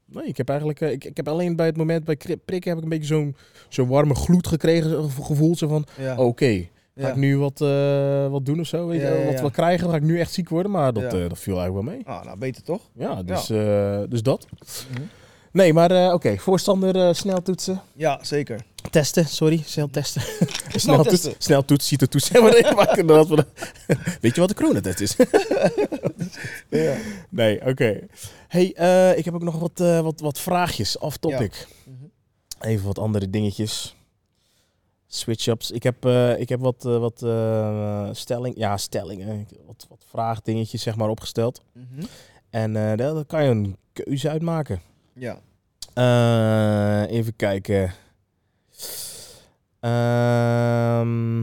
nee, ik heb eigenlijk... eh, ik, ik heb alleen bij het moment bij kri- prikken heb ik een beetje zo'n zo'n warme gloed gekregen. zo- Gevoeld zo van, Ja. oké, ga ja. ik Oh, nu wat, eh, wat doen of zo? Weet je, Ja, wel? ja, wat ja. we krijgen, ga ik nu echt ziek worden? Maar dat, Ja. nou, eh, dat viel eigenlijk wel mee. Ah, nou, beter toch? Ja, dus, eh, dus dat. Nee, maar eh, oké. Voorstander eh, snel toetsen. Ja, zeker. Testen, sorry. Snel [LAUGHS] testen. Snel toets- testen. Snel toetsen, ziet de [LAUGHS] toetsen helemaal even maken. dan dat [LAUGHS] we de- Weet je wat de coronatest is? Ja. nee, oké. hey, eh, ik heb ook nog wat, eh, wat, wat vraagjes off topic. Mhm. Even wat andere dingetjes. Switch-ups. Ik heb, eh, ik heb wat, eh, wat eh, stelling, ja, stellingen. Ik- Wat, wat vraagdingetjes zeg maar opgesteld. Mhm. En eh, daar, daar kan je een keuze uitmaken. Ja. Eh, even kijken. Ehm,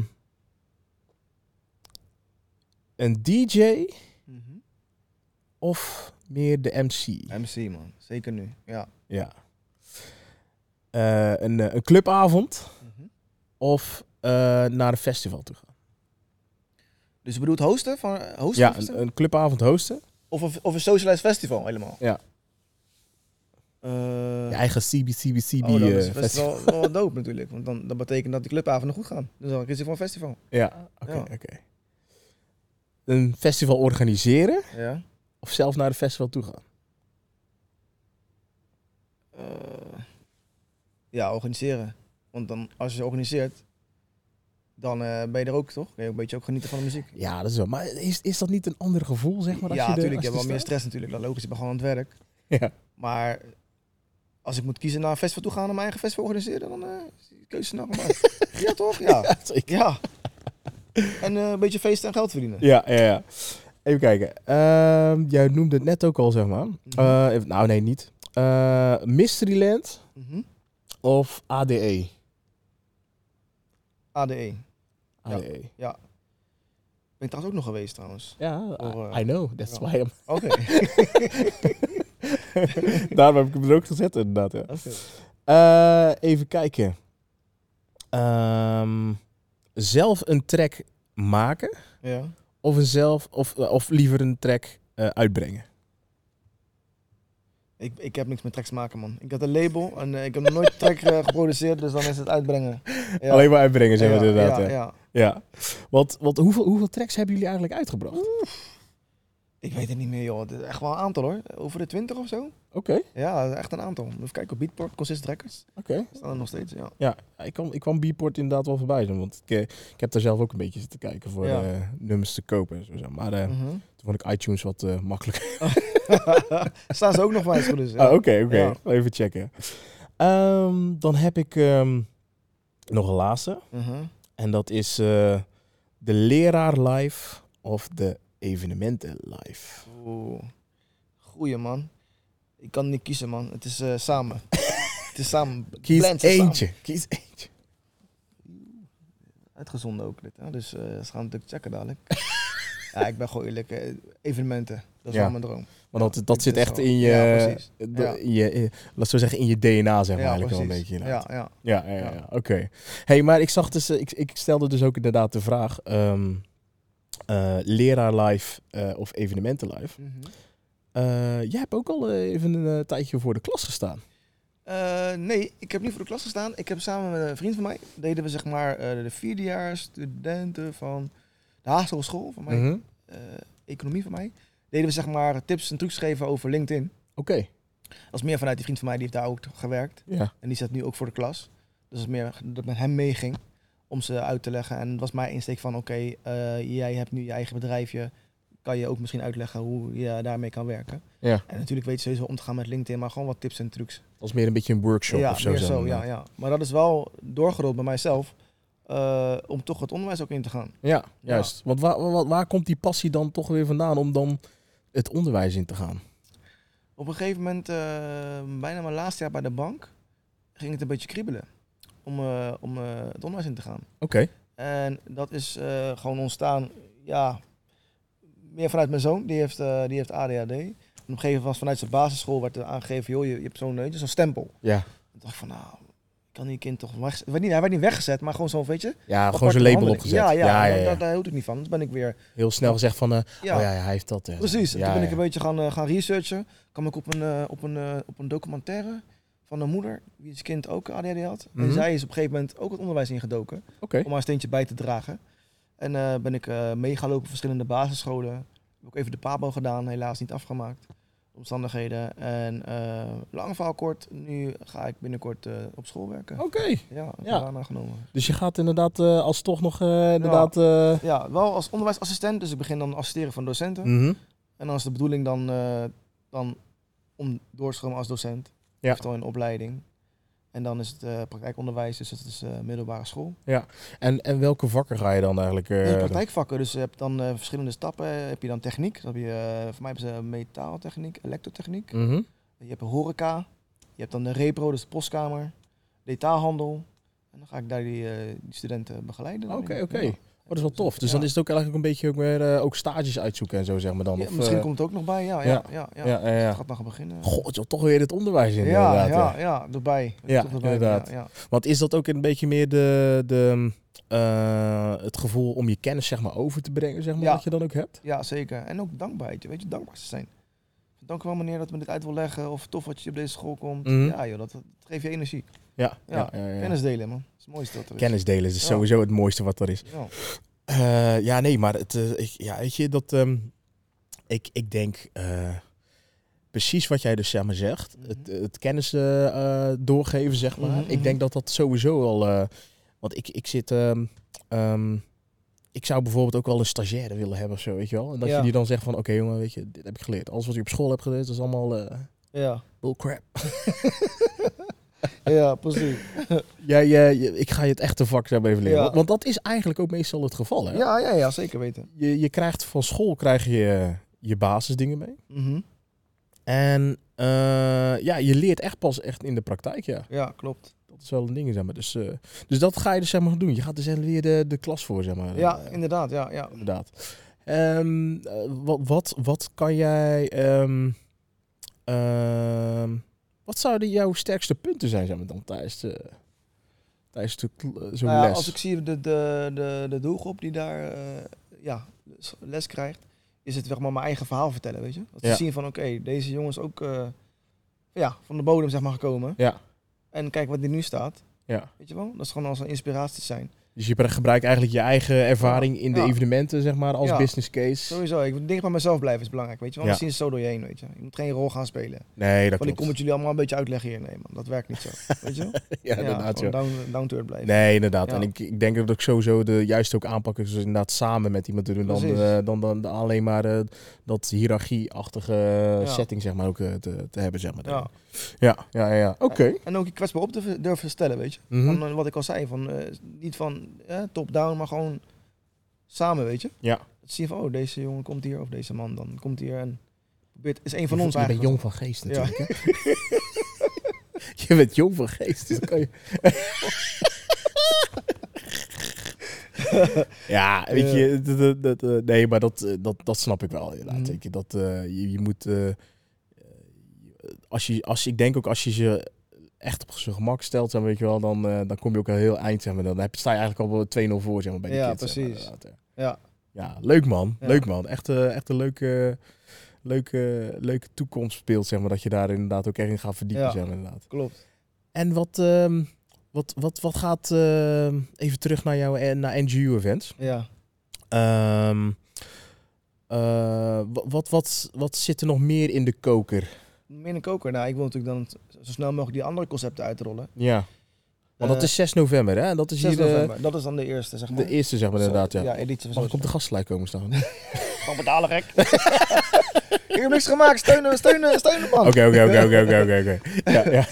een DJ Mhm. of meer de MC? MC, man. Zeker nu. Ja. Ja. Eh, een, eh, een clubavond Mhm. of eh, naar een festival toe gaan? Dus je bedoelt hosten? Van, eh, hosten Ja, hosten? een, een clubavond hosten. Of, een- of een socialized festival helemaal? Ja. Eh, Je eigen CBCBCB oh, dan eh, is het best festival. wel, wel dope natuurlijk. Want dan, dat betekent dat die clubavonden goed gaan. Dus dan is het voor een festival. Ja, oké. Ja. oké. Een festival organiseren Ja. of zelf naar een festival toe gaan? Eh, ja, organiseren. Want dan, als je organiseert, dan eh, ben je er ook, toch? Kun je ook een beetje ook genieten van de muziek. Ja, dat is wel. Maar is, is dat niet een ander gevoel, zeg maar? Als ja, je er- natuurlijk. als Je hebt wel er meer staat? stress natuurlijk. Dat logisch, je bent gewoon aan het werk. [LAUGHS] Ja. Maar als ik moet kiezen naar een festival toe gaan en mijn eigen festival organiseren, dan eh is die keuze snel gemaakt. ja, toch? Ja. ja. En eh, een beetje feesten en geld verdienen. Ja, ja, ja. Even kijken. Ehm, jij noemde het net ook al, zeg maar. Eh, even- nou, nee, niet. Eh, Mysteryland Mhm. of E? ADE? ADE. Ja. ADE. E. Ben ik trouwens ook nog [LAUGHS] geweest trouwens. E. Ja, Voor, I, eh, I know. That's ja. why I'm... [LAUGHS] Oké. Daarom heb ik hem er ook gezet, inderdaad. Ja. Oké. Eh, even kijken. Ehm, zelf een track maken [LAUGHS] Ja. of, een zelf, of, eh, of liever een track eh, uitbrengen? Ik, ik heb niks met tracks maken, man. Ik had een label en eh, ik heb nog nooit een track eh, geproduceerd, dus dan is het uitbrengen. Ja. Alleen maar uitbrengen, zeg maar, Ja, inderdaad. ja, ja. ja. Ja, want, want hoeveel, hoeveel tracks hebben jullie eigenlijk uitgebracht? Oké. Ik weet het niet meer, joh. Het is echt wel een aantal, hoor. Over de twintig of zo. Oké. Ja, echt een aantal. Even kijken op Beatport, Consist Records. Staan er nog steeds, ja. Ja, ik kwam, ik kwam Beatport inderdaad wel voorbij. zijn, Want ik, eh, ik heb daar zelf ook een beetje zitten kijken voor Ja. eh, nummers te kopen. En zo, zeg maar eh, Mhm. toen vond ik iTunes wat eh, [LAUGHS] makkelijker. Staan ze ook nog bij het goed is, ja. Ah, Oké, oké. Ja. Even checken. Ehm, dan heb ik ehm, nog een laatste. Mhm. En dat is eh, de leraar live of de evenementen live. Oeh. Goeie, man. Ik kan niet kiezen, man. Het is eh, [LAUGHS] samen. het is samen. Kies Blend ze eentje. Kies eentje. samen. Uitgezonden ook dit, hè? Dus eh, ze gaan natuurlijk checken dadelijk. [LAUGHS] ja, ik ben gewoon eerlijk. eh, Evenementen. Dat is Ja. wel mijn droom. Want dat, ik dat zit dus echt wel. in je, Ja, precies. eh, Ja. in je, eh, laat zo zeggen, in je DNA zeg maar ja, eigenlijk wel een beetje. inderdaad. Ja, ja. Ja, ja, ja. Ja. oké. Hey, maar ik zag dus, eh, ik, ik stelde dus ook inderdaad de vraag: ehm, eh, leraar live eh, of evenementen live. Mhm. Eh, jij hebt ook al eh, even een eh, tijdje voor de klas gestaan. Eh, nee, ik heb niet voor de klas gestaan. Ik heb samen met een vriend van mij, deden we zeg maar eh, de vierdejaars studenten van de Haagse Hogeschool, van mij, Mhm. eh, economie van mij, deden we zeg maar tips en trucs geven over LinkedIn. Oké. Dat is meer vanuit die vriend van mij, die heeft daar ook gewerkt. Ja. En die zat nu ook voor de klas. Dus het is meer dat ik met hem meeging om ze uit te leggen. En het was mijn insteek van, oké, eh, jij hebt nu je eigen bedrijfje. Kan je ook misschien uitleggen hoe je daarmee kan werken. Ja. En natuurlijk weet je sowieso om te gaan met LinkedIn, maar gewoon wat tips en trucs. Dat is meer een beetje een workshop ja, of zo. meer zeg zo, maar. ja, ja. Maar dat is wel doorgerold bij mijzelf eh, om toch het onderwijs ook in te gaan. Ja, juist. Want waar, waar, waar komt die passie dan toch weer vandaan om dan het onderwijs in te gaan? Op een gegeven moment, eh, bijna mijn laatste jaar bij de bank, ging het een beetje kriebelen om, eh, om eh, het onderwijs in te gaan. Oké. En dat is eh, gewoon ontstaan, ja, meer vanuit mijn zoon, die heeft, eh, die heeft ADHD. En op een gegeven moment was vanuit zijn basisschool werd er aangegeven, joh, je, je hebt zo'n weet je, zo'n stempel. Ja. Toen dacht ik van, nou, kan die kind toch... weg- Hij werd niet, hij werd niet weggezet, maar gewoon zo'n, weet je... Ja, gewoon aparte zijn label behandeling. opgezet. Ja, ja, ja, Daar, daar hield ik niet van. Dus ben ik weer... Heel snel gezegd van, eh, Ja, oh ja, ja, hij heeft dat. eh. precies. En Ja, toen ben ik ja. een beetje gaan, eh, gaan researchen. Kwam ik op een, eh, op, een, eh, op een documentaire van een moeder, wie zijn kind ook ADHD had. Mhm. En zij is op een gegeven moment ook het onderwijs ingedoken. Oké. om haar steentje bij te dragen. En eh, ben ik eh mee gaan lopen op verschillende basisscholen. Heb ook even de PABO gedaan, helaas niet afgemaakt. Op omstandigheden. En eh lang verhaal kort, nu ga ik binnenkort eh, op school werken. Oké. Ja, ik heb Oh, Ja. baan aangenomen. Dus je gaat inderdaad eh, als toch nog eh, inderdaad... eh, Ja, wel als onderwijsassistent, dus ik begin dan assisteren van docenten. mhm. En dan is de bedoeling dan, eh, dan om doorstromen als docent, Ja. oftewel in opleiding. En dan is het eh, praktijkonderwijs, dus dat is eh, middelbare school. en, en welke vakken ga je dan eigenlijk... eh, In praktijkvakken, dus je hebt dan eh, verschillende stappen. Heb je dan techniek, dan heb je, eh, voor mij hebben ze metaaltechniek, elektrotechniek. Mhm. Je hebt een horeca, je hebt dan de repro, dus de postkamer, detailhandel. En dan ga ik daar die, eh, die studenten begeleiden. dan Oké, in. oké. Ja. Oh, dat is wel tof. Dus Ja. dan is het ook eigenlijk een beetje ook weer eh, ook stages uitzoeken en zo, zeg maar dan. Ja, of, misschien eh, komt het ook nog bij, ja. ja, ja, ja, ja. Ja, ja, Het ja. gaat nog gaan beginnen. God, joh, toch weer het onderwijs in, ja, inderdaad. ja, hè. ja, erbij. Ja, Toch erbij, inderdaad. Ja, ja. Want is dat ook een beetje meer de, de, eh, het gevoel om je kennis zeg maar, over te brengen, zeg maar, Ja. dat je dan ook hebt? Ja, zeker. En ook dankbaarheid. je Weet je, dankbaar te zijn. Dank u wel meneer dat me dit uit wil leggen. Of tof dat je op deze school komt. Mhm. Ja joh, dat, dat geeft je energie. Ja, ja. Ja, ja, ja, Kennis delen man. Dat is het mooiste dat er is. Kennis delen is dus Ja. sowieso het mooiste wat er is. Ja. Eh, ja, nee, maar het, eh, ik, ja, weet je, dat, ehm, ik, ik denk eh, precies wat jij dus zeg maar, zegt. Mhm. Het, het kennis eh, eh, doorgeven, zeg maar. Mhm, Ik mhm. denk dat dat sowieso al... eh, want ik, ik zit... ehm, ehm, ik zou bijvoorbeeld ook wel een stagiaire willen hebben of zo, weet je wel. En dat je Ja. die dan zegt van, oké jongen, weet je, dit heb ik geleerd. Alles wat je op school hebt geleerd, dat is allemaal eh Ja. bullcrap. [LAUGHS] ja, precies. Jij, jij- je- ik ga je het echte vak zo even leren. Ja. Want, want dat is eigenlijk ook meestal het geval, hè? Ja, ja, ja, zeker weten. Je, je krijgt van school krijg je je basisdingen mee. Mhm. En eh, ja, je leert echt pas echt in de praktijk, ja. Ja, klopt. Dat is wel een ding, zeg maar. Dus, eh, dus dat ga je dus zeg maar doen. Je gaat dus echt weer de, de klas voor, zeg maar. Ja, Eh, inderdaad. Ja, ja. inderdaad. Ehm, eh, wat, wat, wat kan jij... ehm, ehm, wat zouden jouw sterkste punten zijn, zeg maar, dan tijdens, de, tijdens de, kl- eh, zo'n Nou ja, les? als ik zie de, de, de, de doelgroep die daar eh, ja, s- les krijgt, is het zeg maar mijn eigen verhaal vertellen, weet je? Dat Ja. ze zien van, oké, deze jongen is ook eh, ja, van de bodem zeg maar gekomen. Ja. En kijk wat die nu staat, Ja. weet je wel? Dat is gewoon als een inspiratie zijn. Dus je gebruikt eigenlijk je eigen ervaring in de Ja. evenementen, zeg maar, als Ja. business case. Sowieso, ik denk bij mezelf blijven is belangrijk, weet je wel? Ja. Dan zien ze zo door je heen, weet je? Je moet geen rol gaan spelen. Nee, dat Want ik kom klopt. het jullie allemaal een beetje uitleggen hier. Nee man, dat werkt niet zo, weet je wel? [LAUGHS] Ja, inderdaad, joh. gewoon down, down to earth blijven. Nee, inderdaad. Ja. En ik, ik denk dat ik sowieso de juiste ook aanpak is dus inderdaad samen met iemand te doen dan, Precies. eh, dan, dan, dan alleen maar eh, dat hiërarchie-achtige eh, Ja. setting zeg maar ook eh, te, te hebben zeg maar. Ja. ja, ja, ja, ja. Oké. En ook je kwetsbaar op te durven stellen, weet je? Mhm. Van, eh, wat ik al zei, van, eh, niet van eh, top-down, maar gewoon samen, weet je? Ja. Dat zie je van, oh, deze jongen komt hier, of deze man dan komt hier en probeert, is een Je van ons voelt- Je bent eigenlijk. jong van geest Ja. natuurlijk. hè? [LAUGHS] je bent jong van geest. Dus dan kan je... [LAUGHS] ja, weet je, dat, dat, dat, eh, nee, maar dat, eh, dat, dat snap ik wel inderdaad. Mhm. Weet je, dat, eh, je, je moet, eh, eh, als je, als, ik denk ook als je ze echt op zijn gemak stelt, zeg maar, weet je wel, dan, eh, dan kom je ook al heel eind, zeg maar, dan heb, je- sta je eigenlijk al wel 2-0 voor zeg maar, bij de Ja, kids. zeg maar, precies. inderdaad, hè. Ja, Ja, leuk man. Ja. Leuk man. Echt, eh, echt een leuke, leuke, leuke toekomstbeeld, zeg maar. Dat je daar inderdaad ook echt in gaat verdiepen, Ja. zeg maar, inderdaad. klopt. En wat, ehm, wat, wat, wat gaat... ehm, even terug naar jouw eh, naar NGU-events. Ja. wat, Ehm, eh, wat, wat, wat zit er nog meer in de koker? Meer een koker. Nou, ik wil natuurlijk dan zo snel mogelijk die andere concepten uitrollen. Ja. Want dat Eh, is 6 november, hè? En Dat is 6 hier eh, november. Dat is dan de eerste, zeg maar. de eerste, zeg maar, inderdaad, ja. Oh, Ja, editie Mag van ik op de gastlijn komen staan? [LAUGHS] Oké, Van betalen, gek. ik heb niks gemaakt. Steunen, steunen, steunen, man. Oh. oké, oké, oké, oké, oké, oké. Ja, ja.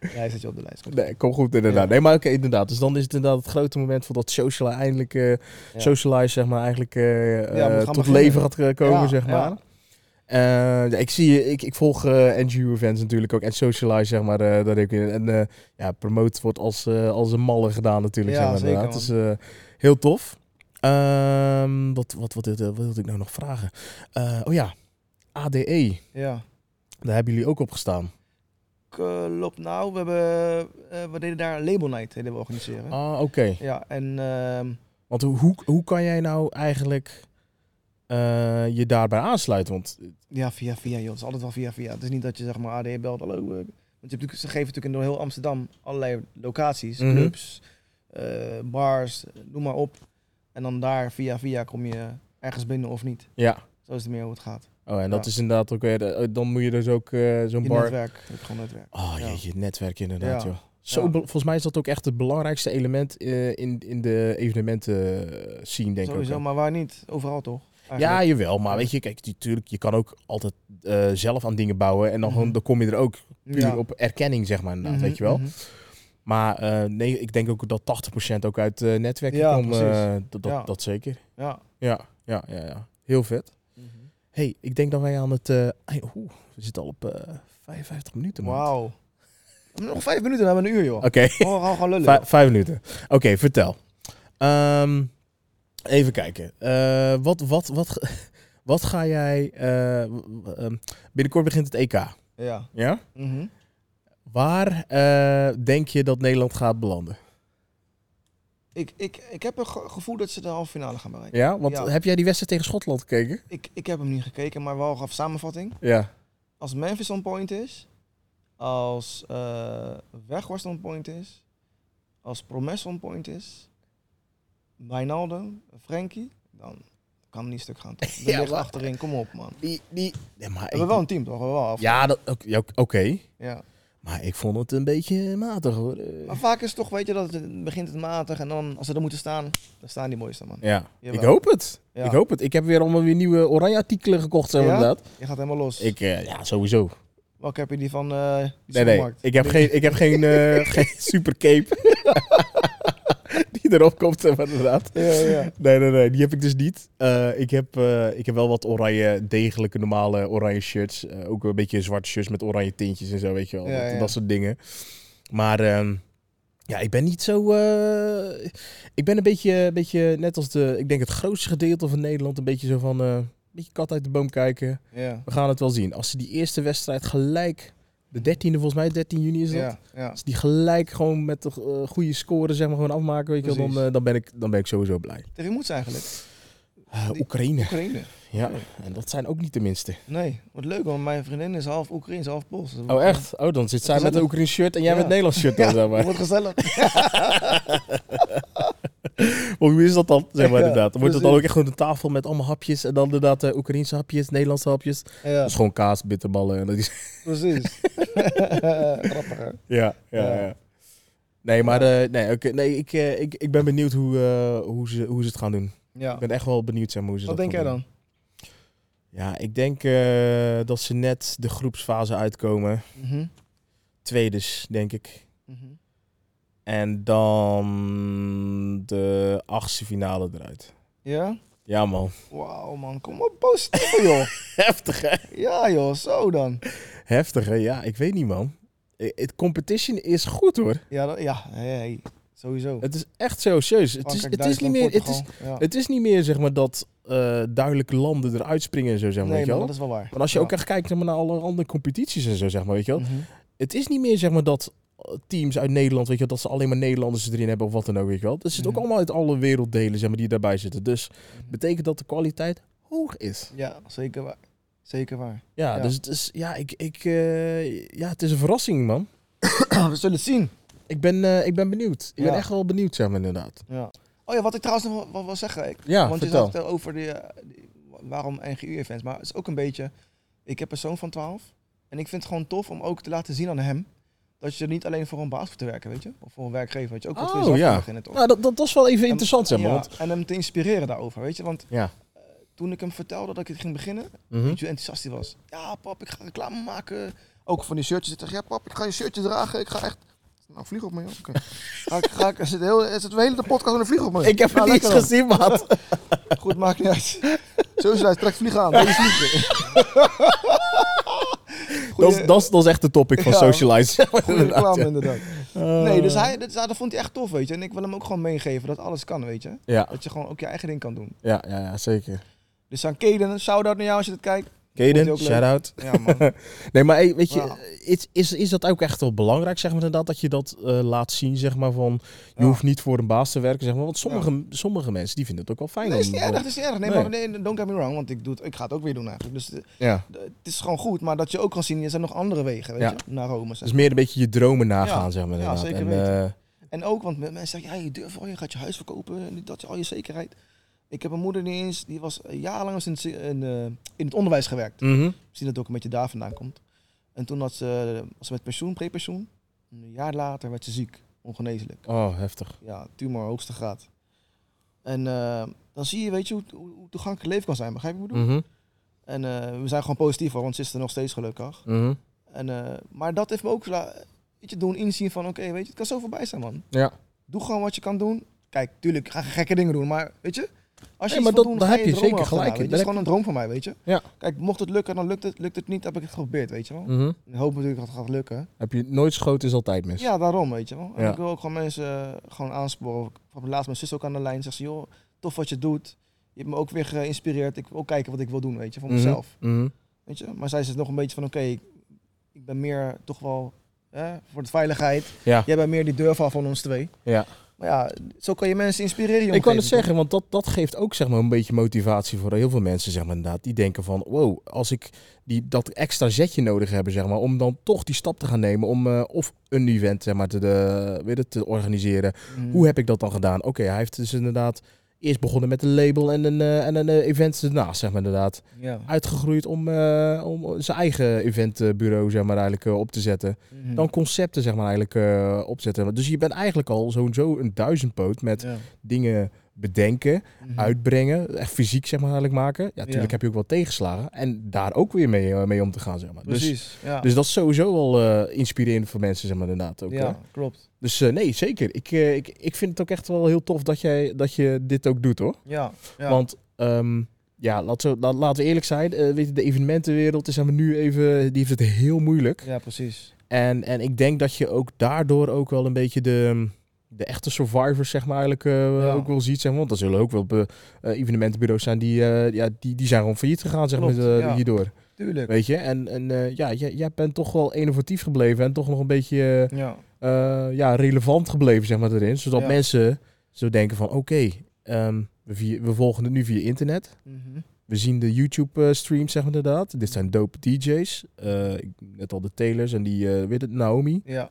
Ja, hij zit je op de lijst. Nee, kom goed inderdaad. Ja. Nee, maar oké, inderdaad. Dus dan is het inderdaad het grote moment van dat social eindelijk, eh, socialize, zeg maar, eigenlijk eh, eh, gaan tot beginnen. leven gaat eh, komen, Ja, zeg maar. ja. Eh, ja, ik zie, ik, ik volg eh NGO events natuurlijk ook en socialize, zeg maar, eh dat ik en eh, ja, promote wordt als, eh, als een malle gedaan natuurlijk, Ja, zeg maar. zeker, inderdaad. Het is eh, heel tof. Ehm, wat, wat, wat, wat, wat wilde ik nou nog vragen? Eh, oh ja, ADE, Ja. daar hebben jullie ook op gestaan. Klopt. Nou, we hebben, eh, we deden daar Label Night, eh, deden we organiseren. Ah, oké. Ja, en ehm, Want hoe- hoe, hoe kan jij nou eigenlijk eh, je daarbij aansluiten? Want ja, via via, joh. Het is altijd wel via via. Het is niet dat je zeg maar AD belt, hallo. eh. Want je hebt natuurlijk, ze geven natuurlijk door heel Amsterdam allerlei locaties, Mhm. clubs, eh, bars, noem maar op. En dan daar via via kom je ergens binnen of niet. ja, Zo is het meer hoe het gaat. Oh, en dat Ja. is inderdaad ook weer... de- dan moet je dus ook eh, zo'n Je bar... netwerk, je hebt gewoon netwerk. Oh, Ja. jeetje, netwerk inderdaad, Ja. joh. Zo Ja. be- volgens mij is dat ook echt het belangrijkste element eh, in, in de evenementen eh, scene, denk ik. ook, Sowieso, hè. maar waar niet? Overal toch? Eigenlijk. Ja, jawel. Maar weet je, kijk, natuurlijk, je kan ook altijd eh, zelf aan dingen bouwen. En dan, gewoon, Mhm. dan kom je er ook puur Ja. op erkenning, zeg maar, inderdaad, Mhm, weet je wel. mhm. Maar eh, nee, ik denk ook dat 80% ook uit eh netwerken Ja, komt. eh, precies. dat, dat, Ja. dat zeker. Ja. Ja, ja, ja, ja. Heel vet. hey, ik denk dat wij aan het... eh, ei, oeh, we zitten al op eh 55 minuten, man. Wauw. Nog vijf minuten, we hebben een uur, joh. Oké. Oh, we gaan gewoon lullen. Vij- joh. vijf minuten. Oké, vertel. Ehm, even kijken. Eh, wat, wat, wat, ge- [LAUGHS] wat ga jij... eh, w- w- ehm, binnenkort begint het EK, Ja. ja? Mhm. Waar eh, denk je dat Nederland gaat belanden? ik, ik, ik heb een ge- gevoel dat ze de halve finale gaan bereiken. Ja, want Ja. heb jij die wedstrijd tegen Schotland gekeken? Ik, ik heb hem niet gekeken, maar wel gaf samenvatting. Ja. Als Memphis on point is, als eh Weghorst on point is, als Promes on point is, Wijnaldum, Frenkie, dan kan niet stuk gaan. [LAUGHS] Toch? Ja, ja, ligt maar- achterin, kom op man. Die, die... Nee, maar We ik- hebben wel een team toch? We hebben wel af. Ja, dat- ook- ja, ook- oké. Ja. Maar ik vond het een beetje matig, hoor. Eh, Maar vaak is het toch, weet je, dat het begint het matig en dan als ze er moeten staan, dan staan die mooiste man. Ja, Jawel. ik hoop het. Ja. Ik hoop het. Ik heb weer allemaal weer nieuwe oranje artikelen gekocht, zo Ja? inderdaad. Je gaat helemaal los. Ik, eh, ja, sowieso. Welke heb je die van eh die Nee, nee. supermarkt? Ik heb geen, ik heb geen, [LAUGHS] eh geen supercape [LAUGHS] die erop komt, eh, maar inderdaad. Ja, ja. Nee, nee, nee. Die heb ik dus niet. Eh, ik, heb, eh, ik heb wel wat oranje, degelijke, normale oranje shirts. Eh, ook een beetje zwarte shirts met oranje tintjes en zo, weet je wel. Ja, dat, ja. dat soort dingen. Maar ehm, ja, ik ben niet zo... eh, ik ben een beetje, een beetje, net als de, ik denk het grootste gedeelte van Nederland, een beetje zo van... eh, een beetje kat uit de boom kijken. Ja. We gaan het wel zien. Als ze die eerste wedstrijd gelijk... De 13e, volgens mij 13 juni is dat. Ja, ja. Als die gelijk gewoon met de eh, goede score zeg maar, gewoon afmaken, weet je, wel, dan, Precies. eh, dan, ben ik, dan ben ik sowieso blij. Tegen wie moet ze eigenlijk? Eh, Oekraïne. Oekraïne. Ja, en dat zijn ook niet de minste. Nee, wat leuk, want mijn vriendin is half Oekraïens, half Pools. Dat Oh, wordt- echt? Oh, dan zit zij met een Gezellig. Oekraïns shirt en jij Ja. met een Nederlands shirt dan, zeg Dat maar. wordt gezellig. Maar [LAUGHS] hoe is dat dan, zeg maar, Ja, inderdaad? Dan wordt het dan precies. ook echt gewoon een tafel met allemaal hapjes en dan inderdaad eh, Oekraïense hapjes, Nederlandse hapjes. [LAUGHS] Ja, Dat is gewoon kaas, bitterballen en dat is... [LAUGHS] [LAUGHS] precies. Grappig, hè? Ja, ja, ja. Ja. Nee, maar eh, nee, oké, nee, ik, eh, ik, ik ben benieuwd hoe, eh, hoe, ze, hoe ze het gaan doen. Ja. Ik ben echt wel benieuwd zeg maar, hoe ze Wat dat denk gaan jij doen. dan? Ja, ik denk eh, dat ze net de groepsfase uitkomen. Mhm, Tweedes, denk ik. mhm. En dan de achtste finale eruit. Ja? Ja, [LAUGHS] man. Wauw, man. Kom op, positief, joh. Heftig, hè? Ja, joh. Zo dan. Heftig, hè? Ja, ik weet niet, man. Eh, Het competition is goed, hoor. Ja, dat- ja hey, hey. sowieso. Het is echt serieus. Het is, Frankrijk, het is niet Duitsland, meer, het is, Portugal. Ja. het is niet meer zeg maar, dat eh, duidelijke landen eruit springen en zo, zeg maar. Nee, weet je man, wel? dat is wel waar. Maar als je Ja. ook echt kijkt zeg maar, naar alle andere competities en zo, zeg maar, weet je wel. Mhm. het is niet meer zeg maar dat eh, teams uit Nederland, weet je, wel, dat ze alleen maar Nederlanders erin hebben of wat dan ook, weet je wel. Het zit ook Mhm. allemaal uit alle werelddelen, zeg maar, die daarbij zitten. Dus betekent dat de kwaliteit hoog is. Ja, zeker waar. Zeker [CLEARS THROAT] waar. Ja, Ja. dus het is, ja, ik, ik, eh, ja, het is een verrassing, man. We zullen het zien. Ik ben, eh, ik ben benieuwd. Ik ben Ja. echt wel benieuwd, zeg maar, inderdaad. Ja. Oh ja, wat ik trouwens nog wel- wel wil zeggen. Ik, Ja, want vertel. je zegt eh, over de, eh, die- waarom NGU-events. Maar het is ook een beetje... Ik heb een zoon van 12. En ik vind het gewoon tof om ook te laten zien aan hem... dat je er niet alleen voor een baas hoeft te werken, weet je. Of voor een werkgever, weet je. Ook wat voor Oh, jezelf ja. te beginnen, toch? Nou, dat, dat was wel even interessant, zeg maar. eh, Ja, Want, En hem te inspireren daarover, weet je. Want eh, ja. toen ik hem vertelde dat ik het ging beginnen... Mhm. Weet je hoe enthousiast hij was? Ja, pap, ik ga reclame maken. Ook van die shirtjes. Ik zeg, ja, pap, ik ga je shirtje dragen. Ik ga echt... Nou, vlieg op me, joh. [LAUGHS] Oké. Ga ik, ga ik, er zit heel, er zit de hele podcast aan de vlieg op me. Ik heb het Nou, niet lekker dan. [LAUGHS] gezien, maat. Goed, maakt niet uit. Sowieso, hij trekt vliegen aan. Dat is vliegen. [LAUGHS] Dat, Goeie- is- dat, is- dat is echt de topic van Ja. socialize. zeg maar, Goede inderdaad, reclame, ja. Ah. inderdaad. Nee, dus hij, dat, dat vond hij echt tof, weet je. En ik wil hem ook gewoon meegeven dat alles kan, weet je. Ja, Dat je gewoon ook je eigen ding kan doen. ja, ja, ja zeker. Dus aan Kaden, een shout-out naar jou als je dit kijkt. Vond hij Kaden, ook leuk. shout-out. Ja, man. Nee, maar hey, weet je, eh, Ja. is, is, is dat ook echt wel belangrijk, zeg maar, inderdaad, dat je dat eh, laat zien, zeg maar, van je Ja. hoeft niet voor een baas te werken, zeg maar, want sommige, sommige mensen, die vinden het ook wel fijn. Nee, is om, niet eh, erg, dat is niet erg. Nee, Nee. maar nee, don't get me wrong, want ik, doe het, ik ga het ook weer doen eigenlijk. Dus eh, ja. d- het is gewoon goed, maar dat je ook kan zien, er zijn nog andere wegen, weet Ja. je. Naar Rome, zeg Dus meer een beetje je dromen nagaan, Ja. zeg maar, Ja, inderdaad. zeker en, weten. eh, En ook, want mensen zeggen, ja, je durft wel, je gaat je huis verkopen, en dit, dat, al je zekerheid. Ik heb een moeder die eens, die was jarenlang in, het- in, eh, in het onderwijs gewerkt. Mm. eh, Mhm. Misschien dat het ook een beetje daar vandaan komt. En toen had ze, was ze met pensioen, prepensioen. Een jaar later werd ze ziek, ongeneeslijk. Oh, heftig. Ja, tumor hoogste graad. En eh, dan zie je, weet je, hoe, hoe hoe toegankelijk leven kan zijn. Begrijp je wat ik bedoel? Mhm, En eh, we zijn gewoon positief hoor, want ze is er nog steeds gelukkig. mhm. En, eh, maar dat heeft me ook la- weet je, doen inzien van, oké, weet je, het kan zo voorbij zijn, man. Ja. Doe gewoon wat je kan doen. Kijk, tuurlijk, ga geen gekke dingen doen, maar weet je... Als je Nee, iets maar dat- wil doen, daar ga heb je je dromen zeker achterna, gelijk in. weet je. Het is Daar gewoon een droom van mij, weet je. Ja. Kijk, mocht het lukken, dan lukt het. Lukt het niet, heb ik het geprobeerd, weet je wel. Mhm. Ik hoop natuurlijk dat het gaat lukken. Heb je nooit schoten is altijd mis. Ja, daarom, weet je wel. En Ja. ik wil ook gewoon mensen eh, gewoon aansporen. Ik had laatst mijn zus ook aan de lijn. Zegt ze, joh, tof wat je doet. Je hebt me ook weer geïnspireerd. Ik wil ook kijken wat ik wil doen, weet je, voor Mhm, mezelf. mhm. Weet je? Maar zij zit nog een beetje van, oké, ik- ik ben meer toch wel hè, voor de veiligheid. Ja. Jij bent meer die deur van van ons twee. Ja. Maar ja, zo kan je mensen inspireren. je Ik kan het omgeving. zeggen, want dat, dat geeft ook zeg maar, een beetje motivatie voor heel veel mensen. Zeg maar, inderdaad, die denken van, wow, als ik die, dat extra zetje nodig heb, zeg maar, om dan toch die stap te gaan nemen om eh, of een event zeg maar, te, de, weet het, te organiseren. Mm. Hoe heb ik dat dan gedaan? Oké, hij heeft dus inderdaad eerst begonnen met een label en een, eh, en een eh, event ernaast, zeg maar inderdaad. Ja. Uitgegroeid om, eh, om zijn eigen eventbureau zeg maar, eigenlijk, eh, op te zetten. Mhm. Dan concepten zeg maar, eigenlijk, eh, opzetten. Dus je bent eigenlijk al zo'n zo een duizendpoot met Ja. dingen bedenken Mhm. uitbrengen, echt fysiek zeg maar eigenlijk maken. Ja, natuurlijk Ja. heb je ook wel tegenslagen en daar ook weer mee, eh, mee om te gaan zeg maar. Dus, Precies, ja. dus dat is sowieso wel eh, inspirerend voor mensen zeg maar inderdaad ook. hè. ja, klopt. Dus eh, nee, zeker. Ik, eh, ik, ik vind het ook echt wel heel tof dat, jij, dat je dit ook doet hoor. Ja, ja. Want ehm, ja, laat zo, laat, laten we eerlijk zijn, eh, weet je, de evenementenwereld is zeg maar, nu even, die heeft het heel moeilijk. ja precies. En, en ik denk dat je ook daardoor ook wel een beetje de, de echte survivors, zeg maar, eigenlijk eh, Ja. ook wel ziet. Zeg maar. Want er zullen ook wel be- eh, evenementenbureaus zijn die, eh, ja, die, die zijn gewoon failliet gegaan, zeg Klopt, maar, eh, ja. hierdoor. Tuurlijk. Weet je? En, en eh, ja, jij, jij bent toch wel innovatief gebleven en toch nog een beetje Ja. eh, eh, ja, relevant gebleven, zeg maar, erin. Zodat Ja. mensen zo denken van, oké, ehm, we, via- we volgen het nu via internet. Mhm. We zien de YouTube-streams, zeg maar inderdaad. Dit zijn dope DJ's. Eh, ik- net al de Taylors en die, eh weet het, Naomi. Ja,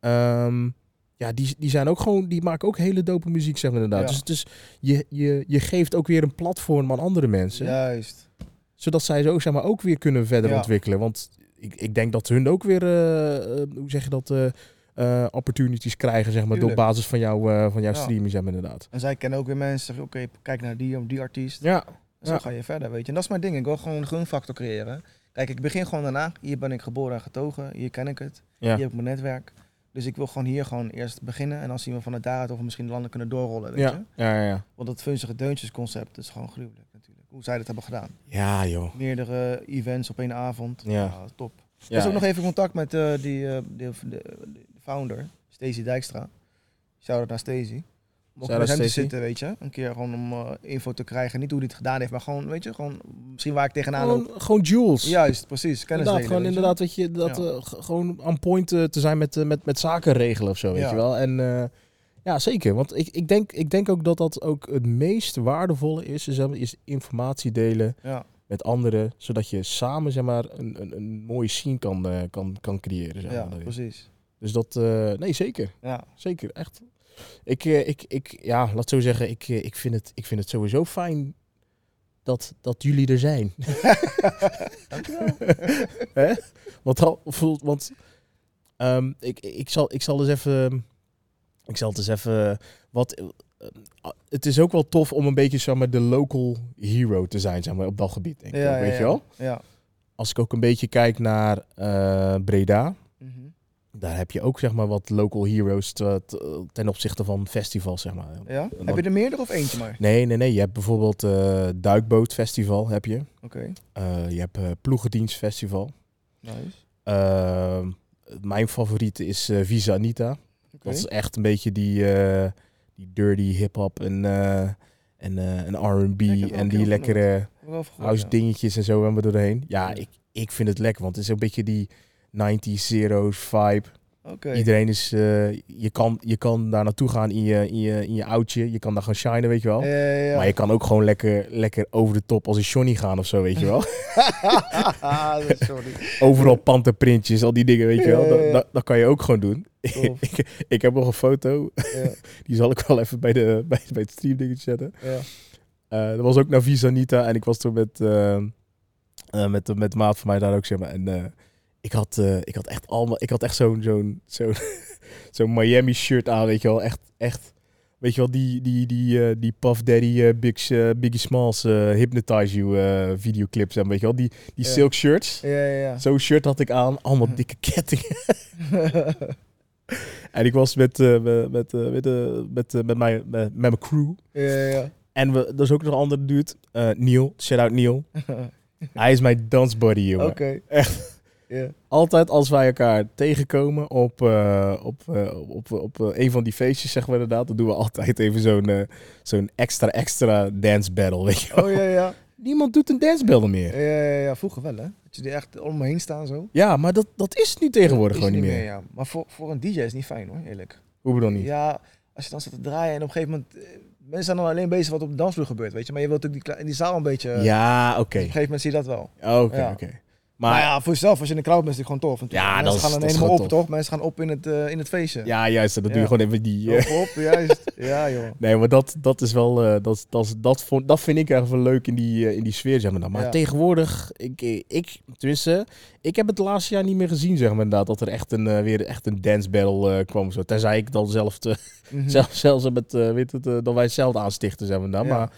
Ehm, ja, die, die zijn ook gewoon, die maken ook hele dope muziek, zeg maar inderdaad. Ja. Dus het is, je, je, je geeft ook weer een platform aan andere mensen. juist. Zodat zij zo, zeg maar, ook weer kunnen verder Ja. ontwikkelen. Want ik, ik denk dat hun ook weer, eh, eh, hoe zeg je dat, eh, eh, opportunities krijgen, zeg maar, Tuurlijk. door basis van, jou, eh, van jouw Ja. streaming, zeg maar inderdaad. En zij kennen ook weer mensen. zeggen, Oké, kijk naar die, die artiest. Ja, En Zo Ja. ga je verder, weet je. En dat is mijn ding. Ik wil gewoon een gunfactor creëren. Kijk, ik begin gewoon daarna. Hier ben ik geboren en getogen. Hier ken ik het. Ja. Hier heb ik mijn netwerk. Dus ik wil gewoon hier gewoon eerst beginnen. En dan zien we vanuit daaruit of we misschien landen kunnen doorrollen, weet je. ja, ja, ja, ja. Want dat funzige deuntjes concept is gewoon gruwelijk natuurlijk. Hoe zij dat hebben gedaan. Ja, joh. Meerdere events op één avond. Ah, Ja. top. Ja, Ik was ook nog even in contact met eh, die, eh, de, de, de founder, Stacey Dijkstra. Shout-out naar Stacey. Mocht Shout-out met hem te Stacey. zitten, weet je. Een keer gewoon om eh, info te krijgen. Niet hoe hij het gedaan heeft, maar gewoon, weet je, gewoon misschien waar ik tegenaan loop. gewoon, gewoon jewels. Juist, precies. Kennis Inderdaad, delen, gewoon weet je. inderdaad, weet je, dat Ja. eh, g- gewoon on point eh, te zijn met, eh, met, met zaken regelen of zo, weet Ja. je wel. En eh, ja, zeker. Want ik, ik, denk, ik denk ook dat dat ook het meest waardevolle is, is, eh, is informatie delen Ja, met anderen, zodat je samen, zeg maar, een, een, een mooie scene kan, eh, kan, kan creëren, zeg ja, maar. precies. Dus dat, eh, nee, zeker. [LAUGHS] Ja, Zeker, echt. Ik, eh, ik, ik ja, laat het zo zeggen, ik, eh, ik, vind het, ik vind het sowieso fijn dat, dat jullie er zijn. Hè? Want, al, voelt- want ehm, ik, ik, zal, ik zal eens even... Ik zal het eens even... Wat, eh, ah, het is ook wel tof om een beetje zeg maar, de local hero te zijn zeg maar, op dat gebied. Denk ik ja, ook, weet ja, je wel? Ja. ja. Als ik ook een beetje kijk naar eh, Breda... Mhm. Daar heb je ook zeg maar, wat local heroes te- te- ten opzichte van festivals. Zeg maar. Ja? dan- Heb je er meerdere of eentje maar? Nee, nee, nee. Je hebt bijvoorbeeld eh Duikbootfestival, heb je. Oké, Eh, je hebt eh, Ploegendienstfestival. Nou, nice. Eh, mijn favoriete is eh, Visa Anita. Oké. Dat is echt een beetje die, eh, die dirty hip-hop en, eh, en, eh, en RB. Ja, ik heb er en ook heel die veel lekkere Heb ik wel vergeet, house ja. dingetjes en zo hebben we doorheen. Ja, Ja. ik, ik vind het lekker, want het is een beetje die 90s, zeros vibe. Oké, Iedereen is, eh, je, kan, je kan daar naartoe gaan in je, in, je, in je oudje. Je kan daar gaan shinen, weet je wel. Ja, ja, ja. Maar je kan ook gewoon lekker, lekker over de top als een Johnny gaan of zo, weet je wel. [LAUGHS] [LAUGHS] Ah, sorry. Overal pantenprintjes, al die dingen, weet je wel. Ja, Dat, ja, ja. dat, dat kan je ook gewoon doen. Tof. [LAUGHS] ik, ik heb nog een foto, Ja, [LAUGHS] die zal ik wel even bij, de, bij, bij het streamdingetje zetten. ja. Eh, dat was ook naar Visa Nita. En ik was toen met, eh, eh, met, met de maat van mij daar ook, zeg maar. En eh, ik, had, eh, ik had echt allemaal... Ik had echt zo'n zo'n zo'n [LAUGHS] zo'n Miami shirt aan, weet je wel. Echt, echt. Weet je wel, die, die, die, eh, die Puff Daddy, eh, Big, eh, Biggie Smalls, eh, Hypnotize You eh, videoclips. En weet je wel, die, die Ja. silk shirts. Ja, ja, ja. Zo'n shirt had ik aan. Hm. Allemaal dikke kettingen. En ik was met, eh, met, met, eh, met, eh, met, eh, met, mijn, met, met mijn crew. [LAUGHS] ja, ja, En we, er is ook nog een andere dude, eh, Neil. Shout-out Neil. ja. Hij is mijn dance buddy, jongen. Oké. Echt. Ja. Altijd als wij elkaar tegenkomen op, eh, op, eh, op, op, op, eh, een van die feestjes, zeggen we inderdaad, dan doen we altijd even zo'n eh, zo'n extra, extra dance battle, weet je wel. Oh ja, ja. Niemand doet een dance battle meer. Ja, ja, ja. Vroeger wel, hè? Dat je er echt om me heen staan zo. Ja, maar dat, dat is nu tegenwoordig Is gewoon niet meer. ja. Maar voor, voor een DJ is het niet fijn hoor, eerlijk. Hoe bedoel niet? Ja, als je dan staat te draaien en op een gegeven moment. eh, Mensen zijn dan alleen bezig wat op de dansvloer gebeurt, weet je. Maar je wilt natuurlijk die, kle- die zaal een beetje. eh, Ja, oké. [LAUGHS] Op een gegeven moment zie je dat wel. Oké, Ja. oké. Maar Maar ja, voor jezelf, als je in de crowd bent, is het gewoon tof. Want Ja, mensen dat is- gaan dan dat is helemaal op, gewoon tof. toch? Mensen gaan op in het, eh, in het feestje. ja, juist, dat doe je Ja. Oh. gewoon even die... eh, Op, op, [LAUGHS] juist. Ja, joh. Nee, maar dat, dat is wel. eh, dat, dat, is- dat, vond, dat vind ik echt wel leuk in die, eh, in die sfeer, zeg maar. dan. Maar Ja. tegenwoordig, ik, eh, ik, tenminste, ik heb het laatste jaar niet meer gezien, zeg maar inderdaad. Dat er echt een, eh, weer echt een dance battle eh, kwam. Zo. Tenzij ik dan zelf, te, [LAUGHS] Mhm. zelf zelfs met, eh, weet het, eh, dat wij het zelf aanstichten, zeg maar. inderdaad. Ja. Maar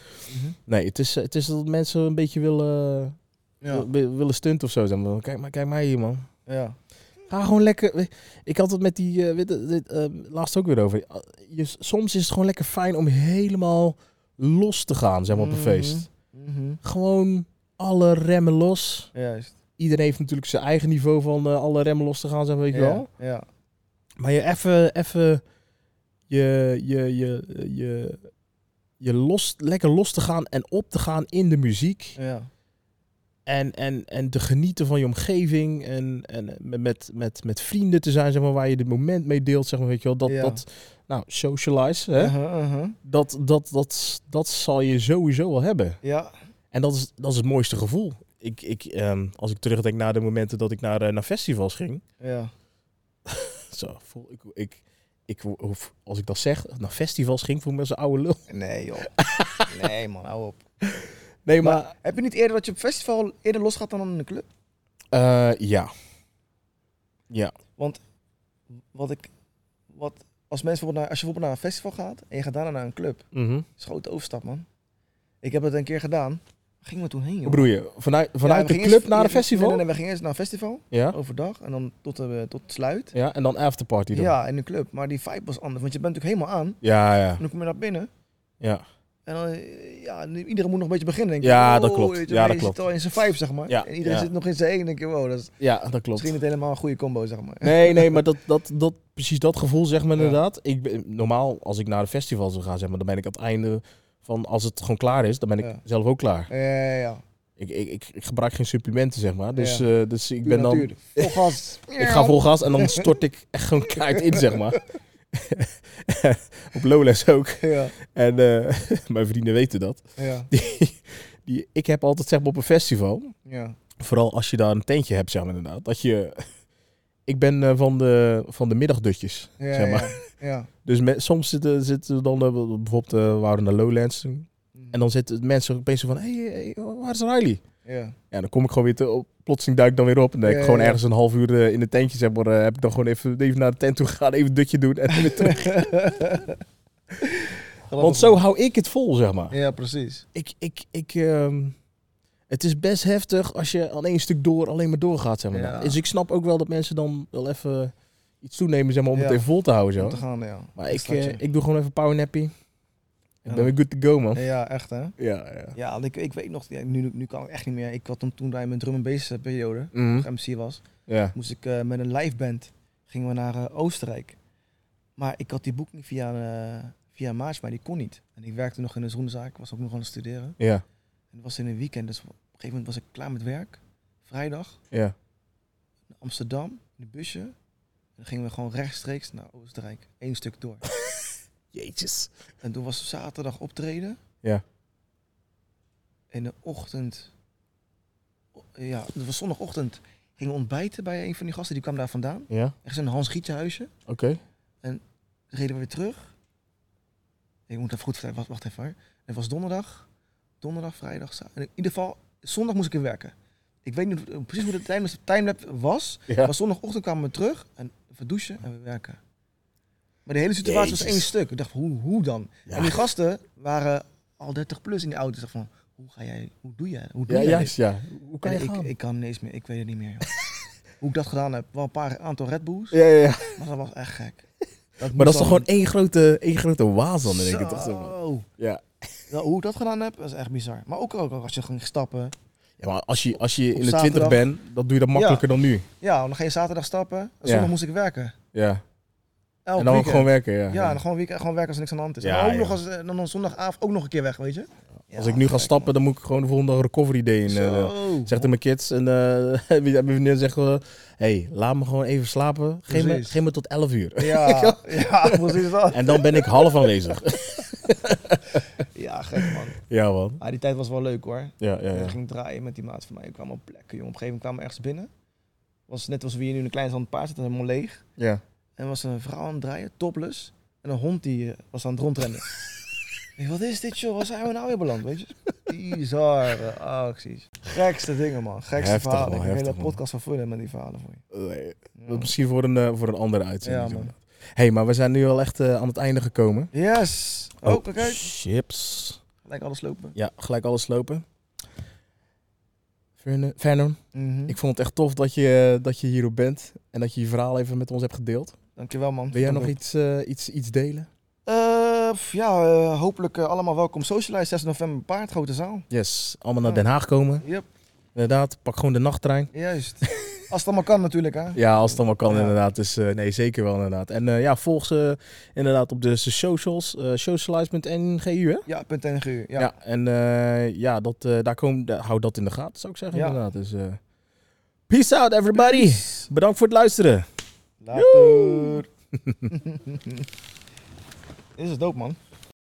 Mhm. nee, het is, eh, het is dat mensen een beetje willen, Ja. wil- willen stunt of zo. Zeg maar. Kijk, maar, kijk maar hier, man. Ja. Ga gewoon lekker. Ik had het met die. eh, weet je, dit, eh, laatst ook weer over. Ah, Je, soms is het gewoon lekker fijn om helemaal los te gaan, zeg maar, op een Mhm. feest. Mhm. Gewoon alle remmen los. Juist. Iedereen heeft natuurlijk zijn eigen niveau van eh, alle remmen los te gaan, zeg maar, weet je wel. Ja. ja. Maar je even. even je, je, je, eh, je, je los, lekker los te gaan en op te gaan in de muziek. ja. En, en, en te genieten van je omgeving. En, en met- met, met, met vrienden te zijn, zeg maar, waar je dit moment mee deelt. Zeg maar, weet je wel, dat, Ja. dat, nou, socialize. Hè? Uh-huh, uh-huh. Dat, dat, dat, dat zal je sowieso wel hebben. Ja. En dat is, dat is het mooiste gevoel. Ik, ik, ehm, als ik terugdenk naar de momenten dat ik naar, eh, naar festivals ging. Ja. Zo, voel ik, ik, ik, of als ik dat zeg, naar festivals ging, voel ik me als een oude lul. Nee, [LAUGHS] joh. nee, man, hou op. Nee, maar... Maar- Heb je niet eerder dat je op festival eerder losgaat dan in de club? eh, ja. Wat ik. Wat, als, mensen bijvoorbeeld naar, als je bijvoorbeeld naar een festival gaat en je gaat daarna naar een club. Mhm. is een grote overstap, man. Ik heb dat een keer gedaan. Waar gingen we toen heen, Hoe joh? bedoel je? Vanuit, Ja, vanuit we de gingen club eerst- naar een nee, festival? Nee, nee, we gingen eerst naar een festival Ja. overdag en dan tot, de, tot sluit. ja, en dan afterparty dan? Ja, in de club. Maar die vibe was anders, want je bent natuurlijk helemaal aan. Ja, ja. En dan kom je naar binnen Ja, en dan, eh, ja, nu- iedereen moet nog een beetje beginnen. Denk ik. Ja, dat Oh, klopt. weet je, Ja, maar dat je klopt. zit al in zijn vibe, zeg maar. Ja, En iedereen ja. zit nog in zijn één. denk je, wow, dat is ja dat klopt. misschien niet helemaal een goede combo, zeg maar. Nee, nee, maar dat, dat, dat, precies dat gevoel zeg maar Ja. inderdaad. Ik ben, normaal, als ik naar een festival zou gaan, zeg maar, dan ben ik aan het einde van, als het gewoon klaar is, dan ben ik Ja. zelf ook klaar. [LAUGHS] Ja, ja, ja. Ik, ik, ik, ik gebruik geen supplementen, zeg maar. Dus, Ja. eh, dus ik ben dan, [LAUGHS] Natuurlijk. Vol gas. ik ga vol gas en dan stort ik echt gewoon keihard in, zeg [LAUGHS] maar. [LAUGHS] Op Lowlands ook. Ja, En eh, [LAUGHS] mijn vrienden weten dat. ja, Die, ik heb altijd, zeg maar, op een festival, ja. vooral als je daar een tentje hebt, zeg maar inderdaad, dat je... [LAUGHS] Ik ben eh, van, de, van de middagdutjes, Ja, zeg maar. ja, ja. Dus me- soms zitten, zitten we dan, eh, bijvoorbeeld, eh, we waren naar Lowlands toen. En dan zitten mensen opeens zo van, hé, hey, eh, hey, waar is Riley? [LAUGHS] Ja, Ja, dan kom ik gewoon weer, te, op, plotseling duik ik dan weer op. En dan heb ik Ja, gewoon ja, ja. ergens een half uur eh, in het tentje, zeg maar, eh, heb ik dan gewoon even, even naar de tent toe gegaan, even een dutje doen en weer [LAUGHS] terug. Want zo hou ik het vol, zeg maar. Ja, precies. Ik, ik, ik, ehm, het is best heftig als je aan één stuk door alleen maar doorgaat, zeg maar. Ja. Dus ik snap ook wel dat mensen dan wel even iets toenemen, zeg maar, om Ja. het even vol te houden, Om zo. te gaan, ja. Maar Een ik, stadje. eh, ik doe gewoon even power nappy. Ik Ja. ben weer good to go, man. Ja, echt hè? Ja, ja. Ja, want ik, ik weet nog, ja, nu, nu kan ik echt niet meer. Ik had toen, toen daar in mijn drum and bass eh, periode, Mhm. nog MC was, Ja. moest ik eh, met een live band, gingen we naar eh, Oostenrijk. Maar ik had die boeking via, eh, via een maatje, maar die kon niet. En ik werkte nog in een schoenenzaak, was ook nog aan het studeren. Ja. En het was in een weekend, dus op een gegeven moment was ik klaar met werk. Vrijdag, Ja. naar Amsterdam, in een busje. En dan gingen we gewoon rechtstreeks naar Oostenrijk, één stuk door. Jeetjes. En toen was het zaterdag optreden. Ja. In de ochtend. o- Ja, het was zondagochtend. Gingen we ontbijten bij een van die gasten. Die kwam daar vandaan. Ja, Ergens in een Hans Gietje huisje. oké. Reden we weer terug. Ik moet even goed vertellen. Wacht, wacht even hoor. Het was donderdag. donderdag, vrijdag, zaterdag. In ieder geval, zondag moest ik weer werken. Ik weet niet hoe- precies hoe de time- timelapse was. Ja. Maar zondagochtend kwamen we terug en even douchen en we werken. Maar de hele situatie was Jezus. één stuk. Ik dacht, hoe, hoe dan? En die gasten waren al 30 plus in die auto. Ik dacht van, hoe ga jij, hoe doe jij, hoe doe Ja, jij juist, dit? ja. Hoe kan je En gaan? ik, ik kan niks meer, ik weet het niet meer. [LAUGHS] joh. Hoe ik dat gedaan heb, wel een paar aantal Red Bulls, ja, ja, ja. maar dat was echt gek. Maar moest dat is toch dan- gewoon één grote, één grote waas dan in één keer, toch? Zo, man. Zo. Ja. Nou, hoe ik dat gedaan heb, is echt bizar. Maar ook, ook als je ging stappen. ja, maar als je, als je in de zaterdag. twintig bent, dan doe je dat makkelijker dan nu. Ja, dan ga je zaterdag stappen. En zondag Ja. moest ik werken. Ja. Elk en dan ook weekend. gewoon werken, ja. Ja, en dan gewoon, weekend, gewoon werken als er niks aan de hand is. Ja, maar ook joh. nog als, eh, dan een zondagavond ook nog een keer weg, weet je. Als ik nu ga stappen, dan moet ik gewoon de volgende dag recovery day in. eh, Zegt aan mijn kids en eh [LAUGHS] mijn vriendin zegt gewoon, hey, laat me gewoon even slapen. Geef me, Precies. geef me tot 11 uur. [LAUGHS] Ja, ja, precies dat. En dan ben ik half [LAUGHS] aanwezig. Ja, gek man. Ja, man. Maar die tijd was wel leuk hoor. Ja, ja, Ik ja. ging draaien met die maat van mij. Ik kwam op plekken, jongen. Op een gegeven moment kwamen we ergens binnen. Was net als we hier nu in een klein zandpaard zitten, helemaal leeg. Ja, En was een vrouw aan het draaien, topless. En een hond die eh, was aan het [LAUGHS] rondrennen. Ik denk, wat is dit joh? Waar zijn we nou weer beland, weet je? Bizarre acties. Gekste dingen man. Gekste Heftig, verhalen. man. ik heb een hele Heftig, man. podcast van vullen met die verhalen voor je. Nee, Ja. dat Misschien voor een, eh, voor een andere uitzending. Ja, man. doen. hey, maar we zijn nu al echt eh, aan het einde gekomen. Yes! Oh, kijk, kijk. chips. Lijkt alles lopen. Ja, gelijk alles lopen. Hm? Verne- Vernon, Mhm. ik vond het echt tof dat je, eh, dat je hierop bent en dat je je verhaal even met ons hebt gedeeld. Dankjewel man. Wil jij nog Dank je. iets, eh, iets, iets delen? Eh, pff, ja, eh, hopelijk eh, allemaal welkom. Socialize 6 november, Paard, Grote Zaal. Yes, allemaal naar Ja. Den Haag komen. Yep, Inderdaad, pak gewoon de nachttrein. juist. [LAUGHS] Als het allemaal kan natuurlijk, hè. Ja, als het allemaal kan Ja. inderdaad. Dus eh, nee, zeker wel inderdaad. En eh, ja, volg ze inderdaad op de socials, eh socialize.ngu hè? Ja, punt en uur. Ja. Ja. en eh, ja, dat, eh, daar komen, daar- hou dat in de gaten zou ik zeggen Ja. inderdaad. Dus, eh, peace out everybody. Bedankt voor het luisteren. Later. [LAUGHS] Dit is dope, man.